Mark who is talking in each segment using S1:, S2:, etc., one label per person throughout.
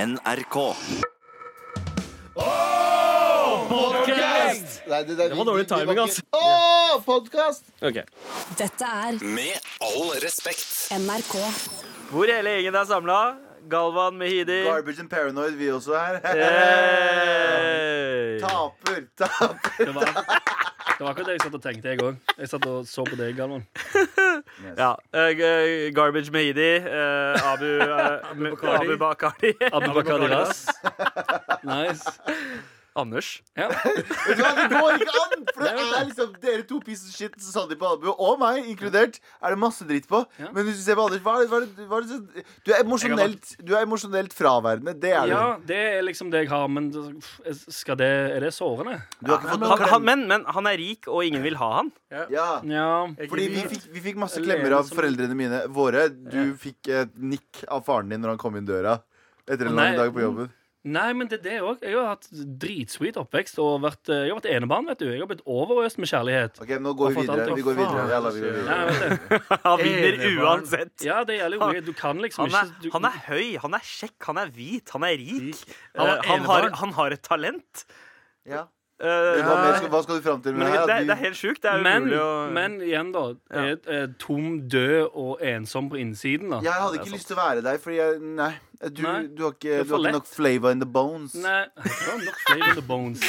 S1: NRK.
S2: Nei, det, det,
S3: var dårlig timing, ass.
S2: Åh, podkast!
S3: Ok.
S4: Dette er
S1: Med all respekt.
S4: NRK.
S3: Hvor hele gjengen er samla. Galvan Mehidi.
S2: Garbage and Paranoid, vi også her.
S3: Hey!
S2: Taper, taper.
S5: Det var, det var akkurat det jeg satt og tenkte, jeg òg. Jeg satt og så på deg, Galvan.
S3: Ja. eh, g- garbage Mehidi. eh, Abu, eh, M-
S5: Bakari.
S3: Abu Bakari.
S5: Abubakar Dilas. Nice.
S3: Anders.
S5: Ja.
S2: Vet du hva, Det går ikke an! For det er liksom dere to pieces of shit som Sandeep og Albu, og meg inkludert, er det masse dritt på.
S5: Ja.
S2: Men hvis du ser på Anders, hva er det, hva er det, hva er det så, du, er emosjonelt, du er emosjonelt fraværende. Det er du.
S5: ja, det er liksom det jeg har, men skal det, er det sårende?
S2: Du har ikke fått
S3: Han,
S2: noen
S3: han,
S2: klem.
S3: men, men han er rik, og ingen vil ha han.
S2: Ja.
S5: Ja.
S2: Fordi vi fikk, vi fikk masse
S5: Lene
S2: klemmer av
S5: som-
S2: foreldrene mine våre. Du fikk et nikk av faren din når han kom inn døra etter en
S5: Nei.
S2: lang dag på jobben.
S5: Nei, men det er det òg. Jeg har hatt dritsweet oppvekst og vært, eh, jeg har vært enebarn, vet du. Jeg har blitt overøst med kjærlighet.
S2: Ok, nå går
S5: Hva
S2: vi
S5: faen,
S2: videre.
S5: Anton?
S2: Vi går videre.
S5: Faen,
S2: Ja, la, vi går videre.
S5: Nei, vet du.
S3: Han vinner
S6: Enebarn.
S3: uansett.
S5: Ja, det gjelder jo mye. Du kan liksom
S3: Han er,
S5: ikke du,
S3: han er høy, han er kjekk, han er hvit, han er
S6: Han
S3: rik.
S6: er
S3: Eh, han, har,
S6: enebarn.
S3: han har et talent.
S2: Ja.
S3: Eh,
S2: Hva, mer skal, hva skal du fram til
S3: Men
S2: med
S3: det,
S2: her?
S3: det,
S2: At
S3: er helt sjukt. Det er
S5: men,
S3: umulig å
S5: men igjen, da.
S3: Ja.
S5: Er, er tom, død og ensom på innsiden, da.
S2: du, jeg hadde ikke lyst til å være deg, fordi jeg, Nei. Du,
S5: Nei.
S2: du har ikke,
S5: er
S2: du har
S5: for
S2: ikke
S5: lett.
S2: nok flavor in the bones.
S5: Nei, det var nok flavor in the bones.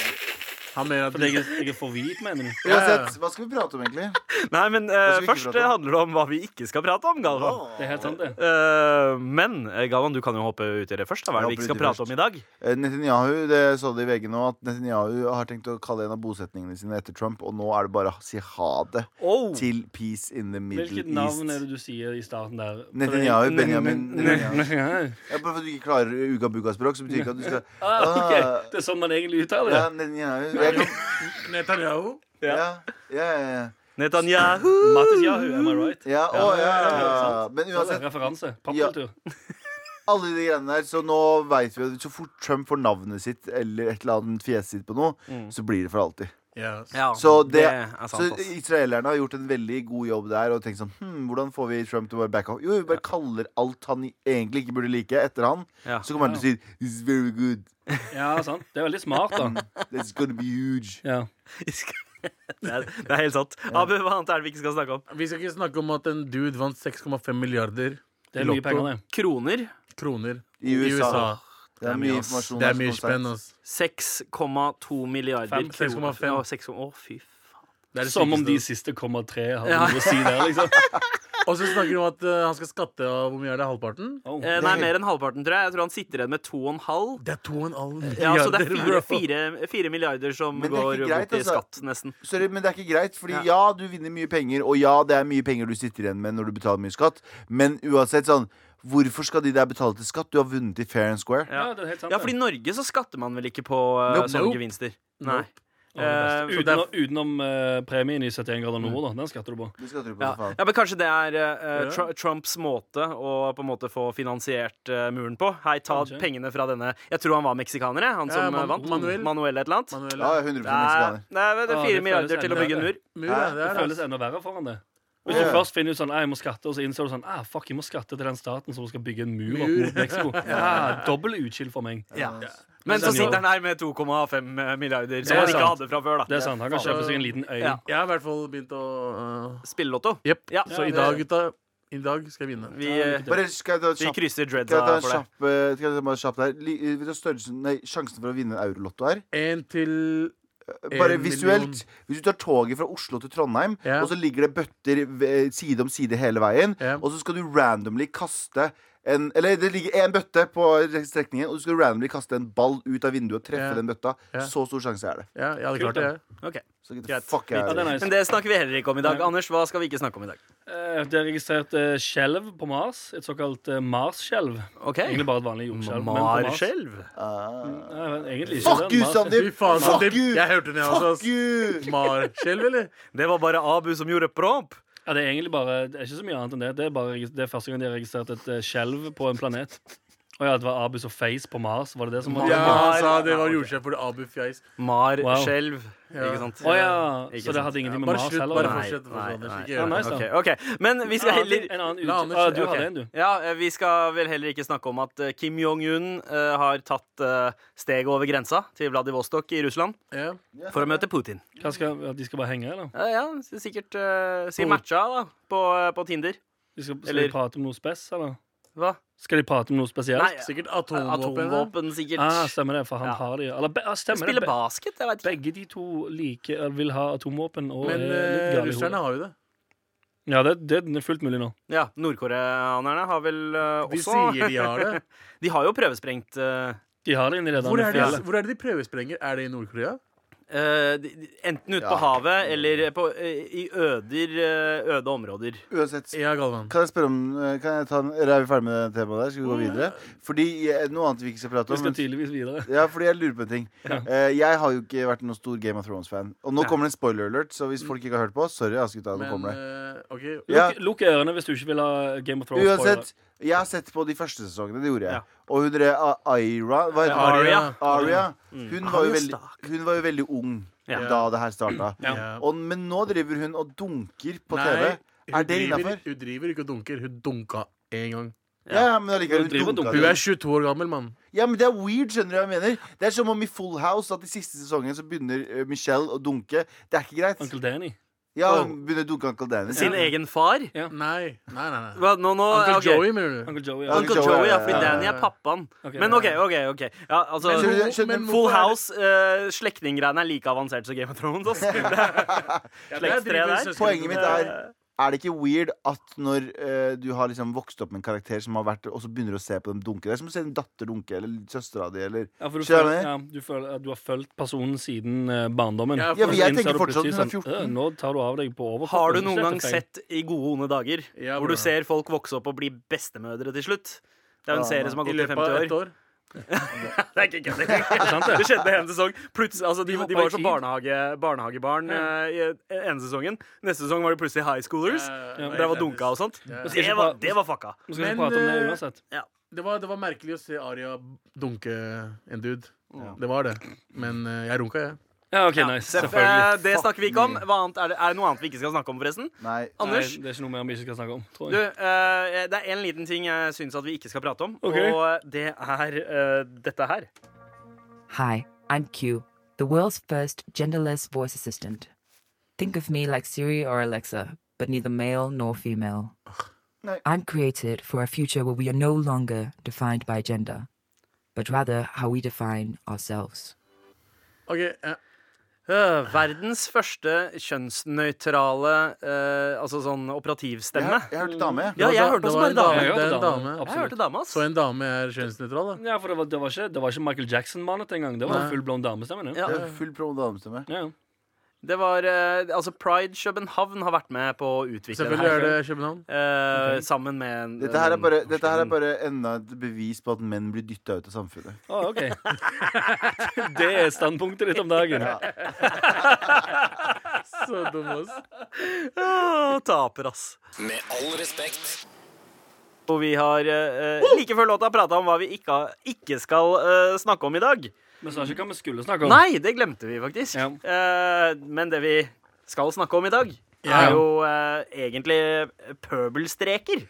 S6: Han mener at
S5: Fordi jeg, jeg er for hvit, mener du?
S2: Uansett, hva skal vi prate om, egentlig?
S3: Nei, men eh,
S2: skal vi ikke
S3: først
S2: prate om?
S3: eh, handler det om hva vi ikke skal prate om, Galvan.
S5: Det er helt sant, det.
S3: Eh, men eh, Galvan, du kan jo hoppe ut i det først. Da. Hva er det vi
S2: Jeg
S3: ikke skal
S2: hopper ut i
S3: prate om i dag?
S2: Eh, Netanyahu, det så det i VG nå, at Netanyahu har tenkt å kalle en av bosetningene sine etter Trump, og nå er det bare å si ha det
S3: Oh.
S2: til Peace in the Middle
S5: Hvilket navn er
S2: East.
S5: det du sier i starten der?
S2: Netanyahu,
S3: Ne-
S2: Benjamin
S3: ne-
S2: Netanyahu.
S5: Netanyahu.
S2: Ja, Bare for at du ikke klarer uga-buga-språk, så betyr ikke at du skal
S5: Ah, ok.
S2: Ah.
S5: Det er sånn man egentlig uttaler det.
S2: Ja, Netanyahu. Jeg kan,
S6: Netanyahu
S2: ja, ja, ja, ja.
S3: Netanyahu.
S5: Mattis Yahu, am I right?
S2: Mm. Ja, å, ja, ja, ja.
S5: sant.
S2: Men uansett,
S5: Referanse. Popkultur.
S2: alle de greiene der, så nå vet vi at så fort Trump får navnet sitt eller et eller annet fjeset sitt på noe, så blir det for alltid.
S6: Yes.
S3: Ja,
S2: Så, det,
S3: er sant,
S2: så
S3: ass.
S2: israelerne har gjort en veldig god jobb der og tenkt sånn hm, Hvordan får vi Trump til å bare backe off? Jo, vi bare kaller alt han egentlig ikke burde like, etter han.
S3: Ja.
S2: Så kommer han til å si This is very good.
S5: Ja, sant. Det er veldig smart,
S2: Mm.
S5: da.
S2: This is gonna be huge.
S5: Ja.
S3: Det er, det er helt sant. Abu, hva annet er det vi ikke skal snakke om?
S6: Vi skal ikke snakke om at en dude vant 6,5 milliarder
S5: Det er mye
S6: Lotto.
S5: penger, det.
S3: Kroner
S6: kroner
S2: I USA. Det er mye
S6: ass.
S2: informasjon.
S6: Det
S2: her
S6: er mye
S2: som kommer
S6: spenn,
S2: seg.
S6: ass.
S3: 6,2 milliarder
S5: Fem,
S3: kroner.
S6: 6,5.
S3: Å, 6,5. Å, fy faen.
S6: Det er det
S5: Som om de
S6: sykeste,
S5: siste komma tre har
S3: Ja.
S5: noe å si der, liksom.
S6: ass. Og så snakker de om at eh, han skal skatte av hvor mye er det, halvparten?
S5: Oh.
S3: Eh, nei, mer enn halvparten, tror jeg. Jeg tror han sitter igjen med 2,5.
S6: Det er 2,5
S3: Ja, så det er fire,
S6: milliarder, bro.
S3: fire, fire milliarder som
S2: Men det er
S3: går
S2: ikke greit,
S3: bort i
S2: altså.
S3: skatt, nesten.
S2: Sorry, men det er ikke greit, fordi ja. du vinner mye penger, og ja, det er mye penger du sitter igjen med når du betaler mye skatt, men uansett sånn Hvorfor skal de der betale til skatt? Du har vunnet i fair and square.
S5: Ja, det er helt sant.
S3: Ja, for i
S5: det.
S3: Norge så skatter man vel ikke på eh,
S2: Nope.
S3: sånne
S6: Nope.
S3: gevinster? Nei.
S6: Nope.
S3: Eh,
S6: Så det er-
S5: Utenom, utenom eh, premien i 71 grader nord, da. Den skatter du på.
S2: Det skatter du på,
S3: ja.
S2: for faen.
S3: ja, men kanskje det er eh,
S6: Ja.
S3: Tru- Trumps måte å på en måte få finansiert eh, muren på. Hei, ta
S5: Kanskje.
S3: pengene fra denne Jeg tror han var meksikaner, jeg, han
S6: Ja,
S3: som eh,
S6: Man-
S3: vant.
S6: Manuel.
S3: Manuel et eller annet.
S6: Manuel,
S2: Ja, jeg er 100
S3: Det er,
S2: meksikaner.
S3: det er,
S5: Å,
S3: det er
S5: det
S3: fire milliarder
S5: føles
S3: til å
S5: enda
S3: bygge en mur.
S6: Mur, ja, det
S5: Det
S6: er det.
S5: føles enda verre foran det. Hvis du
S2: Ja.
S5: først finner ut sånn, «Nei, jeg må skatte, og så innser du sånn, ah, fuck, jeg må skatte til den staten som skal bygge en mur opp
S6: Mur.
S5: mot Mexico. Ah, dobbel utskill for meg.
S3: Ja.
S6: Ja.
S3: Men så
S5: Det er
S3: sitter han her med 2,5 milliarder, som
S5: er
S3: han ikke
S5: sant.
S3: hadde fra før.
S5: Det
S3: da
S5: er sant, Han kan kjøpe seg en liten øy.
S3: Ja.
S6: Jeg har i hvert fall begynt å øh,
S3: Spillelotto.
S6: Jepp.
S3: Ja,
S6: Så i
S3: det-
S6: dag, gutta, i dag skal jeg vinne.
S3: Vi, eh,
S2: Bare skal jeg ta et
S3: vi
S2: kjapt
S3: krysser
S2: Skal jeg ta
S3: dreadsa
S2: en
S3: for deg.
S2: kjapp, eh, skal jeg ta bare kjapt her? Li- eh, Vet du størrelsen, nei, sjansen for å vinne en eurolotto her?
S6: En til
S2: Bare
S6: En
S2: visuelt.
S6: million.
S2: Hvis du tar toget fra Oslo til Trondheim,
S6: Ja.
S2: og så ligger det bøtter ved- side om side hele veien,
S6: Ja.
S2: og så skal du randomly kaste en, eller det ligger én bøtte på strekningen, og du skal randomly kaste en ball ut av vinduet og treffe
S6: Ja.
S2: den bøtta.
S6: Ja.
S2: Så stor sjanse er det.
S6: Ja, jeg hadde klart det. jeg.
S3: Ok.
S2: Så get the
S3: Greit.
S2: fuck
S5: Ja,
S2: out
S5: det
S2: of
S5: er
S2: here.
S5: nice.
S3: Men det snakker vi heller ikke om i dag.
S5: Nei.
S3: Anders, hva skal vi ikke snakke om i dag?
S5: Eh, Det er registrert eh, skjelv på Mars. Et såkalt eh, Mars-skjelv.
S3: Ok
S5: Egentlig bare et vanlig jordskjelv. men på Mars-
S3: Marskjelv?
S2: Ah.
S5: Nei, men egentlig ikke.
S2: Fuck
S5: det er
S2: you,
S5: Mars-
S2: Sandeep!
S6: Fy faen,
S2: Fuck
S6: Sandeep.
S2: you!
S6: Jeg hørte den, jeg også.
S2: Fuck
S6: ass.
S2: you!
S6: Marskjelv, eller?
S3: Det var bare Abu som gjorde promp.
S5: Ja, det er egentlig bare Det er ikke så mye annet enn det. Det er, bare, det er første gang de har registrert et eh, skjelv på en planet. Å ja, det var Abus og Face på Mars. Var det det som var
S6: Ja, han sa det var
S3: Ja, ok.
S6: jordskjelv fordi Abu fjeis.
S1: Mar
S5: Wow.
S1: skjelv.
S6: Ja.
S1: Ikke sant?
S5: Å ja,
S1: Ikke
S5: så det
S1: sant.
S5: hadde ingenting med
S6: Bare
S5: Mars
S6: slutt,
S5: heller? å
S6: bare
S5: gjøre?
S1: Nei,
S6: fortsett. for
S1: nei,
S6: faen,
S1: nei.
S6: Anders, ikke
S5: Ja,
S6: gjør det.
S5: nice, da.
S1: Ok, ok. Men vi skal
S5: En annen ting-
S1: heller
S5: En annen ut...
S6: La Anders-
S5: ah, du
S6: ok.
S5: hadde en, du.
S1: ja, eh, Vi skal vel heller ikke snakke om at eh, Kim Jong-un eh, har tatt eh, steget over grensa til Vladivostok i Russland
S6: Ja.
S1: for å møte Putin.
S5: Hva skal, at de skal bare henge, eller?
S1: Ja, ja s- Sikkert eh, si
S5: På-
S1: matcha da på, eh, på Tinder.
S5: De skal, skal
S1: Eller-
S5: de prate om noe spes, eller?
S1: Hva?
S5: Skal de prate om noe spesielt?
S1: Nei,
S6: Sikkert
S1: Atomvåpen,
S6: atomvåpen. da.
S1: sikkert.
S5: Ah, stemmer det, for han
S1: Ja.
S5: har det. Eller be- ah, stemmer det.
S1: Spille
S5: Be,
S1: basket? Jeg vet ikke.
S5: begge de to like, eller vil ha atomvåpen og
S6: Men
S5: er
S6: eh,
S5: litt gale i hodet.
S6: russerne har jo det.
S5: Ja, det, det er fullt mulig nå.
S1: Ja, Nordkoreanerne har vel eh,
S6: De
S1: også
S6: sier de har det.
S1: De har jo prøvesprengt eh,
S5: De har det inni det der
S6: Hvor
S5: med
S6: er det,
S5: fjellet.
S6: hvor er det de prøvesprenger? Er det i Nord-Korea?
S1: eh, de- de- enten ute
S2: Ja.
S1: på havet eller på, eh, i øder, eh, øde områder.
S2: Uansett.
S6: Ja, Galvan.
S2: Kan jeg spørre om eh, kan jeg ta, en- Eller er vi ferdig med det temaet der? Skal vi gå videre? Fordi eh, Noe annet vi ikke skal prate
S5: Vi
S2: om.
S5: skal
S2: Men,
S5: tydeligvis videre.
S2: ja, fordi jeg lurer på en ting. Eh, jeg har jo ikke vært noen stor Game of Thrones-fan. Og nå kommer det en spoiler alert, så hvis folk ikke har hørt på, sorry, ass gutta. Nå
S6: Men
S2: kommer det.
S6: eh, OK.
S2: Ja.
S5: Lukk, lukk ørene hvis du ikke vil ha Game of Thrones.
S2: Uansett, jeg har sett på de første sesongene. Det gjorde jeg.
S1: Ja.
S2: Og hun derre A- Aira Hva heter hun?
S1: Aria.
S2: Aria. Hun var jo
S1: Aria
S2: veldig, hun var jo veldig ung
S1: Ja.
S2: da det her starta.
S5: Ja.
S6: Ja.
S2: Og, men nå driver hun og dunker på
S6: Nei,
S2: TV. Er det
S6: hun driver-
S2: innafor?
S6: Hun driver ikke og dunker. Hun dunka én gang.
S2: Ja, ja, men allikevel.
S5: Hun driver
S2: Hun
S5: og
S2: dunka
S5: dunker.
S6: Hun
S2: det.
S6: er 22 år gammel, mann.
S2: Ja, men Det er weird, skjønner du hva jeg mener? Det er som om i Full House at i siste sesongen så begynner eh, Michelle å dunke. Det er ikke greit.
S5: Onkel Danny.
S2: Ja, hun begynner å dunke Uncle Dennis.
S1: Sin egen far?
S6: Nei, nei, nei. nei.
S1: Hva, nå, nå,
S6: Uncle
S1: ok.
S6: Joey, mener du?
S5: Onkel Joey.
S2: Uncle
S1: Uncle
S2: Joey,
S1: Joey,
S2: ja,
S1: ja, fordi
S2: ja,
S1: Danny
S6: ja.
S1: er pappaen.
S5: Ok,
S1: Men OK, OK. ok Ja, altså
S2: Men skjønner du- skjønner du-
S1: Full
S6: hvorfor er det-
S1: House, uh, slektninggreiene er like avansert som Game of Thrones. ass. Det er
S6: det er
S1: Slektstre
S6: driver
S1: der.
S6: søsken-
S2: Poenget mitt er Er det ikke weird at når eh, du har liksom vokst opp med en karakter som har vært Og så begynner du å se på dem dunke? Det er som å se en datter dunke, eller søstera di, eller
S5: Ja, for du,
S2: Skjønner
S5: føler,
S2: du?
S5: ja, du, føler, at du har fulgt personen siden eh, barndommen.
S6: Ja,
S5: Og
S6: for
S5: så
S2: men jeg
S5: innser
S2: tenker
S5: du
S2: fortsatt
S5: plutselig
S2: hun er
S5: sånn,
S2: 14.
S5: «Øh, Nå tar du av deg på overkroppen.
S1: Har du noen
S5: Dette er
S1: gang
S5: feil.
S1: sett I gode onde dager?
S6: Ja,
S1: hvor du
S6: hvordan?
S1: ser folk vokse opp og bli bestemødre til slutt? Det er jo en
S2: Ja,
S1: serie som har
S6: I
S1: gått i
S6: løpet
S1: 50
S6: av
S1: år.
S6: ett år.
S1: Det er ikke kødd. Det er sant, det. Det skjedde en sesong. Plutselig, altså, de, de var som barnehage, barnehagebarn eh, i ene sesongen. Neste sesong var de plutselig high schoolers.
S6: Ja,
S1: Der var dunka og sånt.
S6: Ja.
S1: Det var, det var fucka.
S5: Nå skal vi
S6: Men,
S5: prate om det
S6: eh,
S5: uansett.
S6: Det var, det var merkelig å se Aria dunke en dude. Det var det. Men eh, jeg runka, jeg.
S5: Ja, OK, nice.
S1: Så,
S5: Selvfølgelig.
S1: eh, Det snakker vi ikke om. Hva annet, er, det, er det noe annet vi ikke skal snakke om, forresten?
S2: Nei.
S1: Anders?
S5: Nei, det er ikke noe mer vi ikke skal snakke om, tror
S1: Du,
S5: jeg.
S1: eh, det er en liten ting jeg syns at vi ikke skal prate om,
S5: Ok.
S1: og det er eh, dette her.
S4: Hi, I'm Q, the world's first genderless voice assistant. Think of me like Siri or Alexa, but neither male nor female.
S2: No.
S4: I'm created for a future where we are no longer defined by gender, but rather how we define ourselves.
S6: OK. eh,
S1: Øh, verdens første kjønnsnøytrale eh, altså sånn
S2: Jeg,
S1: operativstemme.
S2: hør- jeg hørte dame. jeg.
S1: Ja, jeg hørte
S6: det
S1: også
S6: var
S1: bare
S6: en
S1: dame.
S5: Jeg
S6: Det er
S5: hørte
S6: en
S5: dame,
S6: dame.
S1: Jeg hørte
S5: absolutt.
S1: dame, ass.
S6: Så en dame er kjønnsnøytral, da?
S5: Ja, for det var, det var ikke, det var ikke Michael Jackson-manet engang. Det var
S6: Nei.
S5: full blond damestemme. det.
S1: Ja.
S2: Det er Full pro damestemme.
S5: Ja, ja.
S1: Det var, eh, altså Pride København har vært med på å utvikle
S6: Selvfølgelig er
S1: det her.
S6: det København.
S1: Eh, sammen med en,
S2: Dette her er
S1: en-
S2: bare, dette her er bare enda et bevis på at menn blir dytta ut av samfunnet.
S5: Å, Ah, OK. Det er standpunktet ditt om dagen.
S6: Så dum, ass.
S1: Åh, Taper, ass.
S7: Med all respekt.
S1: Og vi har eh, eh, like før låta prata om hva vi ikke, har- ikke skal eh, snakke om i dag.
S5: Vi sa ikke hva vi skulle snakke om.
S1: Nei, det glemte vi faktisk.
S5: Ja.
S1: Eh, men det vi skal snakke om i dag,
S5: Ja.
S1: er jo eh, egentlig pøbelstreker.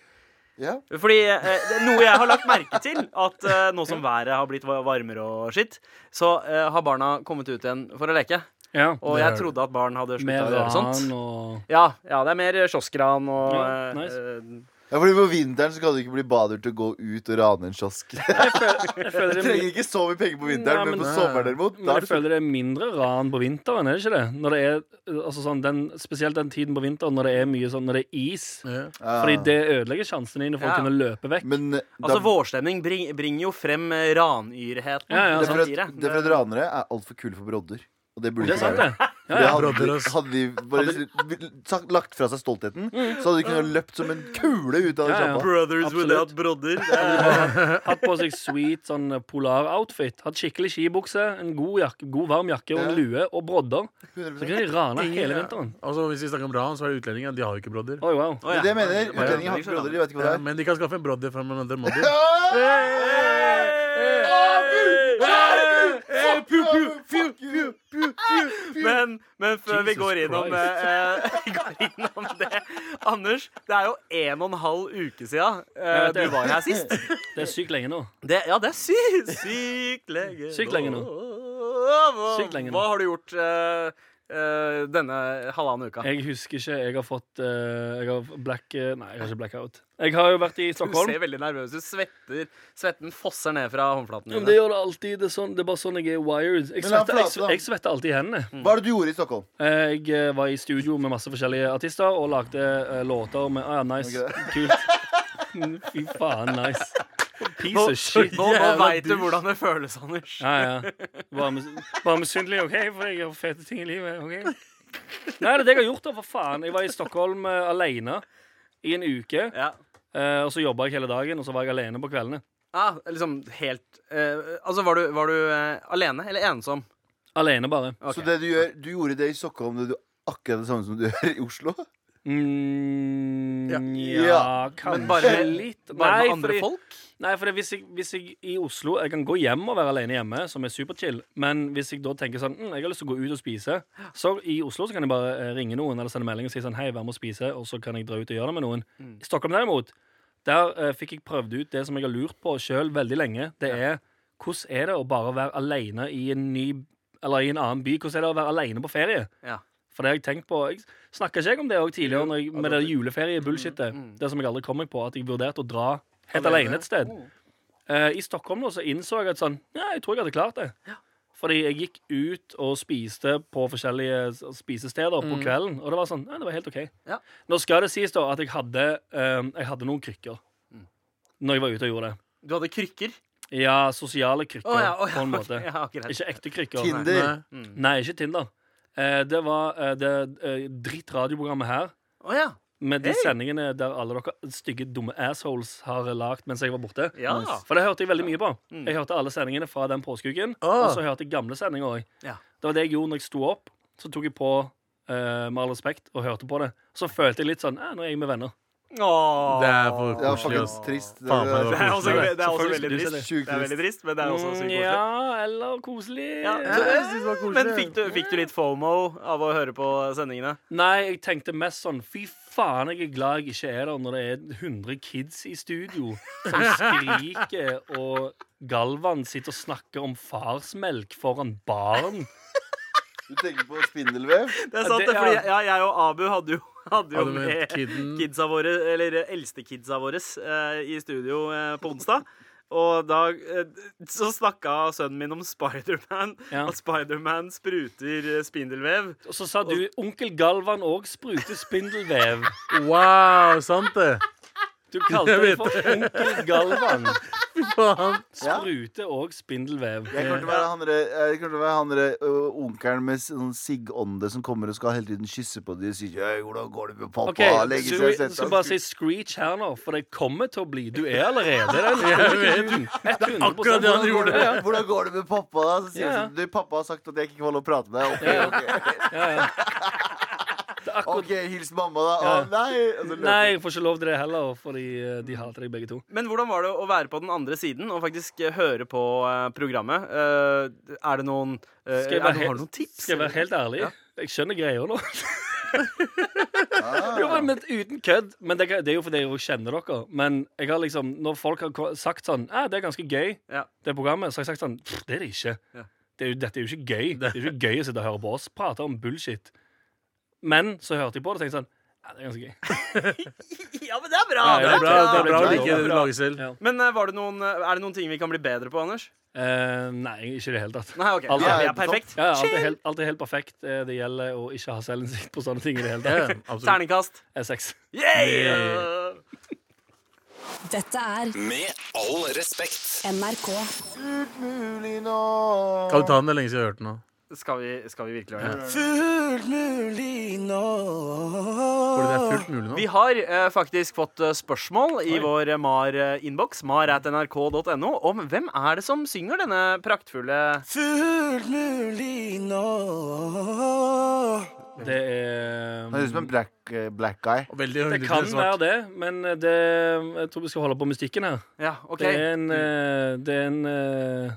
S2: Ja.
S1: Fordi eh, det er noe jeg har lagt merke til, at eh, nå som været har blitt va- varmere og skitt, så eh, har barna kommet ut igjen for å leke.
S5: Ja.
S1: Og
S6: Det
S1: jeg
S6: er-
S1: trodde at barn hadde slutta å
S5: Med
S1: gjøre sånt.
S5: ran og
S1: Ja, ja, det er mer kioskran og
S5: Ja, nice.
S1: eh,
S2: ja, fordi på vinteren så kan du ikke bli bader til å gå ut og rane en kiosk.
S5: Jeg føler
S2: Du
S5: det er
S2: trenger ikke så mye penger på vinteren,
S5: Nei,
S2: men, på
S5: men- eh,
S2: sommeren derimot
S5: Men
S2: da er
S5: jeg
S2: det
S5: føler det er mindre ran på vinteren, er det ikke det? Når det er, altså sånn, den, spesielt den tiden på vinteren når det er mye sånn, når det er is.
S6: Ja.
S2: Ja.
S5: Fordi det ødelegger sjansene dine for
S1: Ja.
S5: å kunne løpe vekk.
S2: Men eh, da,
S1: Altså, vårstemning bring, bringer jo frem eh, ranyrheten.
S5: Ja, ja,
S2: det er
S5: sant.
S2: for at,
S1: satire.
S2: det er for at ranere er altfor kule for brodder. Og det burde
S5: Det
S2: ikke
S5: er sant,
S2: være.
S5: det.
S2: For det
S5: Ja,
S2: hadde,
S6: brodder, ass.
S2: hadde de bare sagt, lagt fra seg stoltheten, så hadde de kunnet løpt som en kule ut av den
S5: Mm. Ja, ja.
S1: eh,
S2: sjappa.
S1: Brothers
S5: Absolutt.
S1: without brodder. Det er-
S5: Hatt på seg sweet sånn polaroutfit. Hatt skikkelig skibukse, en god, jakke, god varm jakke og en lue og brodder. Så
S2: 100%.
S5: kunne de rana hele vinteren.
S6: Altså, Hvis vi snakker om ran, så er det utlendinger. De har jo ikke brodder. Eh,
S5: Oi, wow.
S1: Å, ja.
S2: Det mener utlendinger har
S1: Brodder,
S2: ikke brodder. De vet ikke hva det
S6: Ja,
S2: er.
S6: men de kan skaffe en brodder fra another mother.
S2: Hey!
S5: Eh,
S1: pew, pew,
S2: Fuck you!
S1: Men, men før vi
S5: Jesus
S1: går innom,
S5: Christ.
S1: eh, eh, går innom det Anders, det er jo en og en halv uke siden eh,
S5: Jeg vet
S1: du
S5: det.
S1: var her sist.
S5: Det er sykt lenge nå.
S1: Det, ja, det er sykt! Sykt lenge
S5: Sykt lenge nå.
S1: Hva,
S5: Sykt lenge nå.
S1: hva har du gjort eh, eh, denne halvannen uka?
S5: Jeg husker ikke. Jeg har fått eh, Jeg har black eh, Nei, jeg har ikke blackout. Jeg har jo vært i
S1: Du
S5: Stockholm.
S1: ser veldig nervøs ut. Svetter, svetten fosser ned fra håndflaten
S5: Ja, men
S1: din.
S5: det gjør det alltid. Det er, sånn, det er bare sånn jeg er wired. Jeg
S2: Men la
S5: svetter, jeg,
S2: flate, da.
S5: s- jeg svetter alltid i hendene.
S2: Hva er det du gjorde i Stockholm?
S5: Jeg eh, var i studio med masse forskjellige artister og lagde eh, låter med ah, ja, Nice. Kult. Fy faen, nice. Piece
S1: Nå,
S5: of shit.
S1: nå, nå veit du hvordan det føles, Anders.
S5: Ja, ja. Bare mis- Bare misunnelig, OK? For jeg har fete ting i livet. ok? Nei, det er det jeg har gjort, da, for faen. Jeg var i Stockholm eh, alene i en uke.
S1: Ja.
S5: eh, og så jobba jeg hele dagen, og så var jeg alene på kveldene.
S1: Ah, liksom helt eh, Altså, var du, var du eh, alene eller ensom?
S5: Alene, bare.
S1: Ok.
S2: Så det du gjør, du gjorde det i Stockholm, det du akkurat det samme som du gjør i Oslo?
S5: Mm, ja,
S2: Ja,
S5: kanskje
S1: men bare med-
S5: litt.
S1: Bare
S5: Nei,
S1: med andre
S5: fordi,
S1: folk?
S5: Nei, for hvis, jeg, hvis jeg i Oslo Jeg kan gå hjem og være alene hjemme, som er superchill. Men hvis jeg da tenker sånn mm, Jeg har lyst til å gå ut og spise. Så i Oslo så kan jeg bare eh, ringe noen eller sende melding og si sånn Hei, vær med og spise. Og så kan jeg dra ut og gjøre det med noen. I Stockholm derimot, der eh, fikk jeg prøvd ut det som jeg har lurt på sjøl veldig lenge. Det er hvordan er det å bare være alene i en ny Eller i en annen by? Hvordan er det å være alene på ferie?
S1: Ja.
S5: For det har jeg tenkt på Jeg snakka ikke jeg om det også tidligere, når jeg, med det juleferiebullshitet. Det som jeg aldri kom meg på, at jeg vurderte å dra helt
S6: Alene?
S5: alene et sted.
S1: Mm.
S5: Eh, I Stockholm nå så innså jeg at sånn Ja, jeg tror jeg hadde klart det. Fordi jeg gikk ut og spiste på forskjellige s- spisesteder på kvelden, og det var sånn Ja, det var helt OK.
S1: Mm. Ja.
S5: Nå skal det sies da at jeg hadde, eh, jeg hadde noen krykker
S1: Mm.
S5: når jeg var ute og gjorde det.
S1: Du hadde krykker?
S5: Ja, sosiale krykker,
S1: Å ja, å ja,
S5: på en
S1: ok,
S5: måte.
S1: ja, greit.
S5: Ikke ekte krykker.
S2: Tinder.
S6: Nei.
S5: Nei, ikke Tinder. Eh, det var eh, det eh, drittradioprogrammet her.
S1: Å ja.
S5: Med de
S1: Hey!
S5: sendingene der alle dere stygge, dumme assholes har lagd mens jeg var borte.
S1: Ja. Mm.
S5: Nice. For det hørte jeg veldig mye på. Jeg hørte alle sendingene fra den påskeuken. Og så hørte jeg gamle sendinger òg.
S1: Ja.
S5: Det var det jeg gjorde når jeg sto opp. Så tok jeg på eh, Med all respekt og hørte på det. Så følte jeg litt sånn eh, Nå er jeg med venner.
S1: Åh.
S6: Det er for
S2: Det er
S6: koselig, ass.
S2: faktisk trist. Det,
S6: Faen,
S2: det,
S6: for
S1: Det er også,
S5: koselig.
S1: det er også
S5: Selvfølgelig
S1: veldig
S5: synes jeg
S1: trist.
S2: det.
S1: Det er veldig trist, men det er også
S5: Mm,
S1: sykt koselig.
S5: ja, eller koselig.
S1: Ja,
S6: jeg synes det var koselig.
S1: Men fikk du, fikk du litt fomo av å høre på sendingene?
S5: Nei, jeg tenkte mest sånn Fy faen, jeg er glad jeg ikke er der når det er 100 kids i studio som skriker, og Galvan sitter og snakker om farsmelk foran barn.
S2: Du tenker på spindelvev?
S1: Det er sant,
S5: det-
S1: det, fordi
S5: ja.
S1: ja, jeg og Abu hadde jo, hadde jo
S6: Hadde med
S1: med
S6: kidden.
S1: kidsa våre, eller eh, eldste kidsa våre, eh, i studio eh, på onsdag. Og da eh, så snakka sønnen min om Spiderman.
S5: Ja.
S1: At Spiderman spruter eh, spindelvev.
S5: Og så sa du onkel Galvan òg spruter spindelvev.
S6: Wow, sant det.
S5: Du kalte det for onkel Galvan.
S6: Faen.
S2: Ja.
S5: Spruter òg spindelvev.
S2: Jeg kommer til å være han der- jeg kommer til å være han derre onkelen med sånn siggånde som kommer og skal hele tiden kysse på de og sier «Jøy, 'Hvordan går det med pappa?'
S5: OK,
S2: Legge
S5: så
S2: seg
S5: vi
S2: og sette
S5: skal
S2: seg.
S5: bare si screech her nå, for det kommer til å bli Du er allerede den. Det er
S6: akkurat det han gjorde.
S5: Ja, ja.
S2: Hvordan går det med pappa? da? Så sier
S5: Ja,
S2: jeg
S5: ja.
S2: sånn, du, pappa har sagt at jeg ikke kan holde å prate med deg.
S5: Ja,
S2: Ok, ok.
S5: Det er akkurat
S2: ok, hils mamma, da. Å,
S5: Ja.
S2: nei! Og så løper
S5: Nei, jeg får ikke lov til det heller, fordi eh, de hater deg begge to.
S1: Men hvordan var det å være på den andre siden og faktisk eh, høre på eh, programmet? Eh, er det noen eh,
S5: Skal jeg være
S1: er det, Har du
S5: helt-
S1: noen tips?
S5: Skal jeg være helt ærlig? Jeg skjønner greia nå.
S2: Ah.
S5: jo, men Uten kødd. Men det, det er jo fordi jeg jo kjenner dere. Men jeg har liksom, når folk har ko- sagt sånn «Ah, Det er ganske gøy,
S1: Ja.
S5: det programmet, så har jeg sagt sånn «Pff, Det er det ikke.
S1: Ja.
S5: Det er jo, dette er jo ikke gøy. Det er jo ikke gøy å sitte og høre på oss prate om bullshit. Men så hørte jeg på det og tenkte sånn Ja, det er ganske gøy.
S1: Ja, men det er bra!
S5: Ja,
S6: Det
S5: ja,
S6: er bra, det er bra å
S5: Ja,
S6: like
S5: det er
S6: det du
S5: bra.
S6: lager selv.
S5: Ja.
S1: Men eh, var det noen, eh, er det noen ting vi kan bli bedre på, Anders?
S5: Eh, nei, ikke i det hele tatt.
S1: Nei, OK.
S5: Alt
S1: Ja,
S2: er
S1: vi
S2: på
S1: er perfekt.
S5: Ja, alt, er helt, alt er helt perfekt. Eh, Det gjelder å ikke ha selvinnsikt på sånne ting i det hele tatt.
S6: Absolutt.
S1: Terningkast. Eh,
S5: Eh, Sex.
S1: Yeah!
S7: Dette er
S8: Med all respekt.
S7: NRK.
S2: Fullt mulig nå.
S6: Kan du ta den? Det er lenge siden jeg har hørt den nå.
S1: Skal vi, skal vi virkelig gjøre det?
S8: Fullt mulig nå.
S6: Fordi det er fullt mulig nå.
S1: Vi har eh, faktisk fått eh, spørsmål i vår eh, MAR-innboks, mar.nrk.no, om hvem er det som synger denne praktfulle
S8: Fullt mulig nå.
S5: Det er
S2: Han høres ut som en black, eh, black guy.
S6: Og Veldig
S5: Det
S6: høylytt
S5: kan
S6: og
S5: være
S6: svart.
S5: det, men det, jeg tror vi skal holde på mystikken her.
S1: Ja, OK.
S5: Det er en, eh, det er en eh,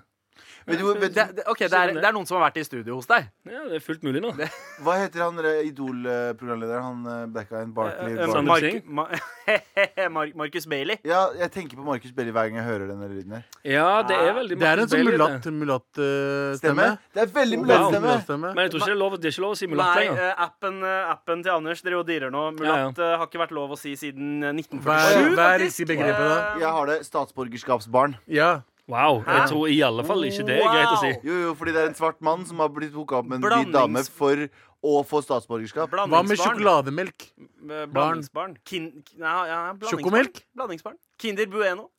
S2: Vet du, hvor- vet,
S1: Det, det, ok, det er, det er noen som har vært i studio hos deg.
S5: Ja, det er fuldt mulig nå.
S2: hva heter han der Idol-programlederen? Han eh, blacka en Barkley
S1: Eh,
S2: Barkley.
S5: Sander
S1: Mark-
S5: Singh?
S1: Ma- Mar Marcus Bailey.
S2: Ja, jeg tenker på Markus Belli hver gang jeg hører denne lyden her.
S5: Ja, det er veldig
S6: Det er en sånn
S5: Bailey, det.
S6: mulatt-stemme. Mulatt, eh,
S2: Stemme?
S6: stemme.
S2: Det er veldig
S6: Wow.
S2: mulattstemme.
S6: Mulattstemme.
S5: Men jeg tror ikke det er lov, det er ikke lov å si mulatt
S1: Nei,
S5: lenger.
S1: eh, appen, eh, appen til Anders driver og dirrer nå. Mulatt eh, har ikke vært lov å si siden eh,
S6: Hva
S1: 1947.
S6: er, hva er
S1: faktisk.
S6: riktig begrepet da?
S1: Eh,
S2: Jeg har det. Statsborgerskapsbarn.
S6: Ja.
S5: Wow. Jeg tror i alle fall ikke det er greit å si.
S1: Wow.
S2: Jo, jo, fordi det er en svart mann som har blitt hooka opp med en hvit dame
S1: Blandings-
S2: for å få statsborgerskap.
S6: Hva med
S1: Blandingsbarn.
S6: sjokolademelk?
S1: Eh, Blandingsbarn. Kin ja, ja, blandingsbarn.
S6: Sjokomelk?
S1: Blandingsbarn. Kinder Bueno.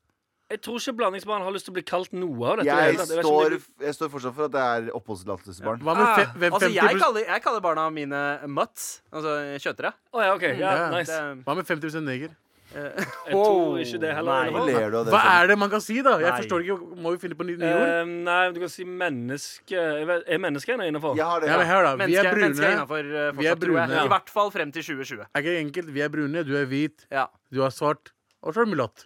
S5: Jeg tror ikke blandingsbarn har lyst til å bli kalt noe av dette.
S2: Jeg
S5: i det hele tatt. vet ikke om
S2: står,
S5: det-
S2: jeg står fortsatt for at det er oppholdstillatelsesbarn.
S6: Hva
S3: Ah,
S6: med fe-
S1: altså,
S6: 50
S1: jeg kaller, jeg kaller barna mine mutts. Altså kjøtere.
S5: Å ja, OK. Ja,
S6: Ja.
S5: nice.
S1: Det-
S6: Hva med 50 neger?
S5: Jeg tror ikke det heller. i
S1: Nei.
S5: alle
S2: Hvorfor
S5: fall.
S2: ler du av det?
S6: Hva
S2: Sander?
S6: er det man kan si, da? Jeg
S1: Nei.
S6: forstår ikke, Må vi finne på nye nye ord?
S5: Eh, nei, men du kan si menneske Jeg vet- Er mennesket en innafor?
S2: Jeg har det.
S6: Ja, men hør da, Vi er
S1: Menneske, menneske er
S6: brune.
S1: innafor eh, fortsatt,
S6: Vi er brune,
S1: tror jeg.
S6: ja.
S1: I hvert fall frem til 2020.
S6: Er ikke enkelt. Vi er brune, du er hvit,
S1: Ja.
S6: du er svart. Og så er du mulatt.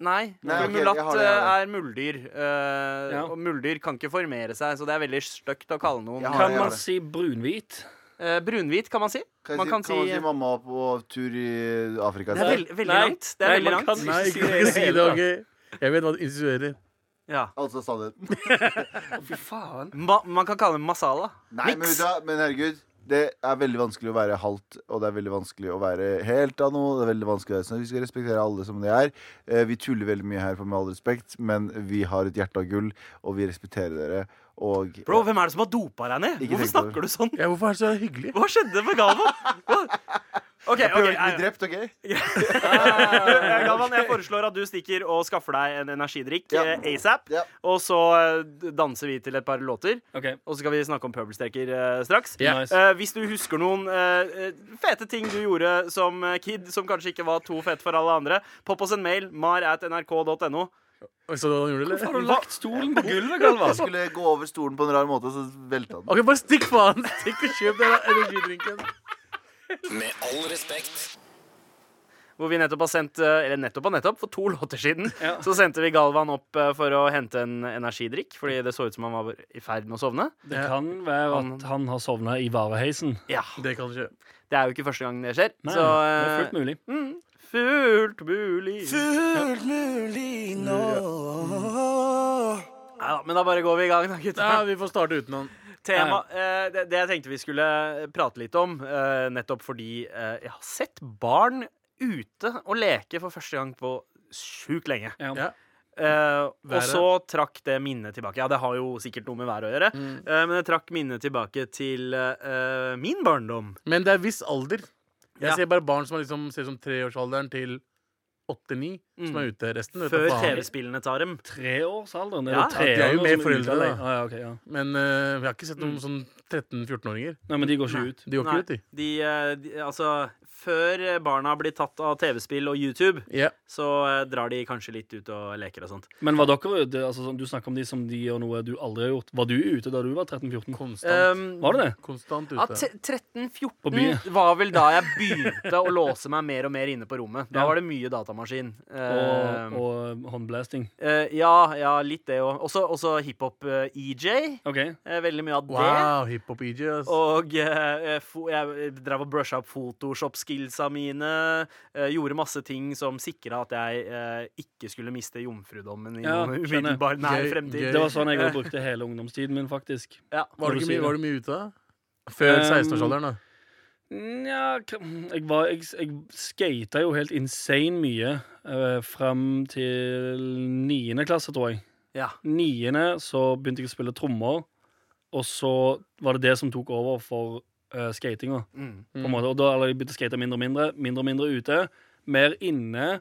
S1: Nei,
S2: Nei,
S1: for
S2: ok, jeg
S1: mulatt
S2: har det, jeg har
S1: eh, er muldyr. eh,
S5: Ja.
S1: Og muldyr kan ikke formere seg, så det er veldig stygt å kalle noen.
S2: Jeg har
S5: Kan
S2: det, jeg har
S5: man
S2: det.
S5: si brunhvit?
S1: Eh, brunhvit, kan man si.
S2: Kan,
S1: Man
S2: jeg
S1: kan
S2: si, kan man
S1: si-
S2: si mamma på tur i Afrika?
S1: Det er
S2: sier jeg?
S1: veld, veldig
S5: Nei.
S1: langt. Det er
S5: Nei,
S1: veldig
S5: man
S1: langt.
S5: kan ikke
S6: Nei,
S5: si
S6: ikke,
S5: det. i
S6: ikke si
S5: hele
S6: det,
S5: tatt.
S6: OK? Jeg vet hva det insinuerer.
S1: Ja.
S2: Altså sannheten.
S1: Ma, man kan kalle det masala.
S2: Nei, men, vet du, hva? men herregud det er veldig vanskelig å være halvt, og det er veldig vanskelig å være helt av noe. Det er veldig vanskelig å være sånn. Vi skal respektere alle som de er. Eh, Vi tuller veldig mye her, for med all respekt, men vi har et hjerte av gull, og vi respekterer dere. Og
S1: Bro, hvem er det som har dopa deg ned?
S2: Ikke tenk
S1: Hvorfor
S2: på
S1: snakker du sånn?
S6: Ja, hvorfor er det så hyggelig?
S1: Hva skjedde med Galvan? OK, ok,
S2: Jeg prøver ikke å
S1: jeg-
S2: bli drept, OK?
S1: Eh, Galvan, jeg foreslår at du stikker og skaffer deg en energidrikk
S2: Ja.
S1: eh, asap.
S2: Ja.
S1: Og så eh, danser vi til et par låter,
S5: Ok.
S1: og så skal vi snakke om pøbelstreker eh, straks.
S5: Ja. Nice.
S1: Eh, hvis du husker noen eh, eh, fete ting du gjorde som eh, kid, som kanskje ikke var to fett for alle andre, popp oss en mail mar at nrk.no.
S6: Og Så han gjorde det,
S5: Har
S6: eller?
S5: du lagt stolen på gulvet, Galvan?
S2: Jeg skulle gå over stolen på en rar måte, og så velta den.
S6: OK, bare stikk, faen! Stikk og kjøp den energidrinken.
S8: Med all respekt.
S1: Hvor vi nettopp har sendt eh, Eller nettopp og nettopp, for to låter siden Så sendte vi Galvan opp eh, for å hente en energidrikk, fordi det så ut som han var i ferd med å sovne.
S5: Det kan være at han har sovna i vareheisen.
S1: Ja,
S6: Det kan skje.
S1: Det er jo ikke første gang det skjer.
S5: Nei,
S1: så
S5: det er
S1: eh,
S5: fullt mulig.
S1: Fullt mulig.
S8: Fullt mulig nå.
S1: Ja, men da bare går vi i gang, da, gutta.
S6: Ja, vi får starte uten han.
S1: Tema, eh, det, det jeg tenkte vi skulle prate litt om, eh, nettopp fordi eh, jeg har sett barn ute og leke for første gang på sjukt lenge.
S5: Ja.
S6: Ja.
S1: Eh, og
S6: Været.
S1: så trakk det minnet tilbake. Ja, det har jo sikkert noe med været å gjøre, eh, men det trakk minnet tilbake til eh, min barndom.
S6: Men det er viss alder. Jeg
S1: Ja.
S6: ser bare barn som er liksom, ser ut som treårsalderen til åtte-ni, som er ute. Resten vet
S1: Før
S6: jeg faen.
S1: TV-spillene tar dem.
S5: Treårsalderen? Er
S1: Ja,
S5: det
S1: ja,
S6: de er jo
S5: treåringer som
S6: mer
S5: er ute
S6: foreldre,
S5: alene?
S6: da.
S5: Ah, ja, ok, ja.
S6: Men eh, vi har ikke sett noen sånn 13-14-åringer.
S5: Nei, men de går ikke ut.
S6: De går
S1: Nei,
S6: ikke ut, de.
S1: de, eh, de, altså, før barna blir tatt av TV-spill og YouTube,
S6: Ja.
S1: så eh, drar de kanskje litt ut og leker og sånt.
S5: Men var dere ute? Altså, sånn, du snakker om de som de gjør noe du aldri har gjort. Var du ute da du var 13-14?
S6: Konstant,
S1: Um,
S5: Var du det?
S6: konstant
S1: ja,
S6: ute.
S1: t-
S5: På byen?
S1: 13-14 var vel da jeg begynte å låse meg mer og mer inne på rommet. Da
S5: Ja.
S1: var det mye datamaskin.
S5: Og,
S1: Eh,
S5: og håndblasting.
S1: eh, ja, ja, litt det òg. Også, også eh, hiphop-EJ.
S5: OK.
S1: Eh, veldig mye av det.
S6: Wow, hiphop-EJ. ass.
S1: Og eh, fo jeg drev og brusha opp Photoshop-skillsa mine. Eh, gjorde masse ting som sikra at jeg eh, ikke skulle miste jomfrudommen i
S5: Ja,
S1: noen
S5: skjønner.
S1: umiddelbar nær
S6: Gøy,
S1: fremtid.
S6: gøy.
S5: Det var sånn jeg også brukte hele ungdomstiden min, faktisk.
S1: Ja.
S6: Var
S5: Når du
S6: du, ikke
S5: sier
S6: mye,
S5: det.
S6: var du mye ute da? Før
S5: Um,
S6: 16-årsalderen, da?
S5: Nja, k- jeg, var- jeg, jeg skata jo helt insane mye eh, fram til niende klasse, tror jeg.
S1: Ja.
S5: Niende så begynte jeg å spille trommer, og så var det det som tok over for uh, skatinga.
S1: Mm.
S5: På en måte. Og da har jeg begynt å skate mindre og mindre, mindre og mindre ute, mer inne.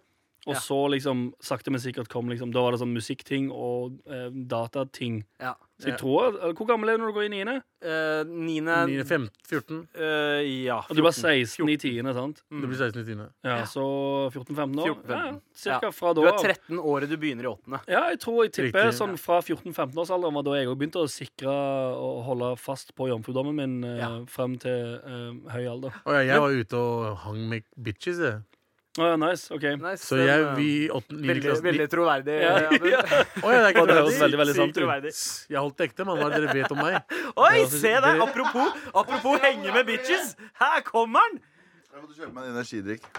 S5: Og
S1: Ja.
S5: så liksom sakte, men sikkert kom liksom Da var det sånn musikkting og eh, datating.
S1: ja.
S5: Så jeg tror eller, Hvor gammel er du når du går i niende?
S1: Eh, niende
S6: 9, 15, 14?
S1: eh, Ja.
S5: Og Du var 16 i tiende, sant?
S1: Mm.
S6: Det blir 16 i tiende.
S5: Ja, Så 14-15 år?
S1: 14-15.
S5: Ja, cirka
S1: Ja.
S5: fra
S1: Du
S5: da
S1: er 13 året du begynner i åttende.
S5: Ja, jeg tror jeg tipper
S6: Riktig.
S5: sånn fra 14-15-årsalderen var da jeg òg begynte å sikre og holde fast på jomfrudommen min eh,
S1: Ja.
S5: frem til eh, høy alder.
S6: Å ja, jeg var ute og hang med bitches, jeg.
S5: Å, nice, ok
S1: Nice,
S6: Så
S1: den,
S6: jeg,
S1: eh,
S6: vi åtte, niende
S1: Veldig,
S6: klasse
S1: veldig troverdig.
S5: Ja,
S1: eh, Abu.
S5: ja.
S6: Å, ja, det er ikke
S5: Og det høres
S6: troverdig.
S5: veldig, veldig sant
S1: Sykt
S5: ut.
S1: troverdig.
S6: Jeg holdt det ekte, mann. Hva er det dere vet om meg?
S1: Oi, se der! Apropos, apropos henge med bitches. Her kommer han!
S2: Jeg måtte kjøpe meg en energidrikk.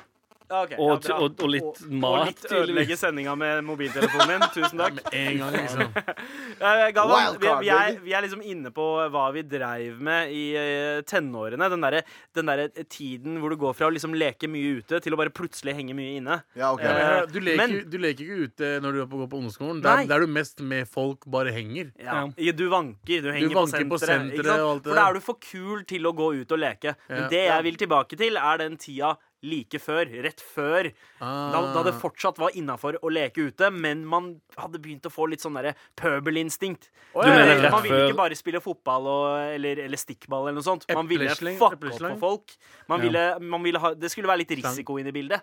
S1: Ja, ok, ja,
S5: Og,
S1: bra.
S5: og, og litt
S1: og
S5: mat,
S1: litt ødelegge sendinga med mobiltelefonen din. Tusen takk.
S6: En gang, liksom.
S1: Eh, Galvan, vi,
S2: Wildcard,
S1: vi, er,
S2: baby.
S1: vi er liksom inne på hva vi dreiv med i eh, tenårene. Den derre den derre tiden hvor du går fra å liksom leke mye ute til å bare plutselig henge mye inne.
S2: Ja, ok.
S1: Eh,
S6: Du leker,
S1: Men-
S6: du leker ikke ute når du er på, går på ungdomsskolen. Der,
S1: Nei.
S6: der er du mest med folk, bare henger.
S1: Ja. Du vanker. Du henger
S6: vanker på
S1: på senteret.
S6: senteret
S1: ikke sant?
S6: og alt det
S1: For da
S6: der.
S1: er du for kul til å gå ut og leke. Men
S6: Ja.
S1: det jeg vil tilbake til, er den tida like før. Rett før. Da,
S6: Ah.
S1: da det fortsatt var innafor å leke ute, men man hadde begynt å få litt sånn derre pøbelinstinkt.
S6: Du
S1: Eh,
S5: mener rett
S1: man ville
S5: før-
S1: ikke bare spille fotball og, eller, eller stikkball eller noe sånt. Man ville
S6: Epleslang,
S1: fucke opp
S6: epleslang.
S1: for folk. Man ville, man ville ha, det skulle være litt risiko inne i bildet.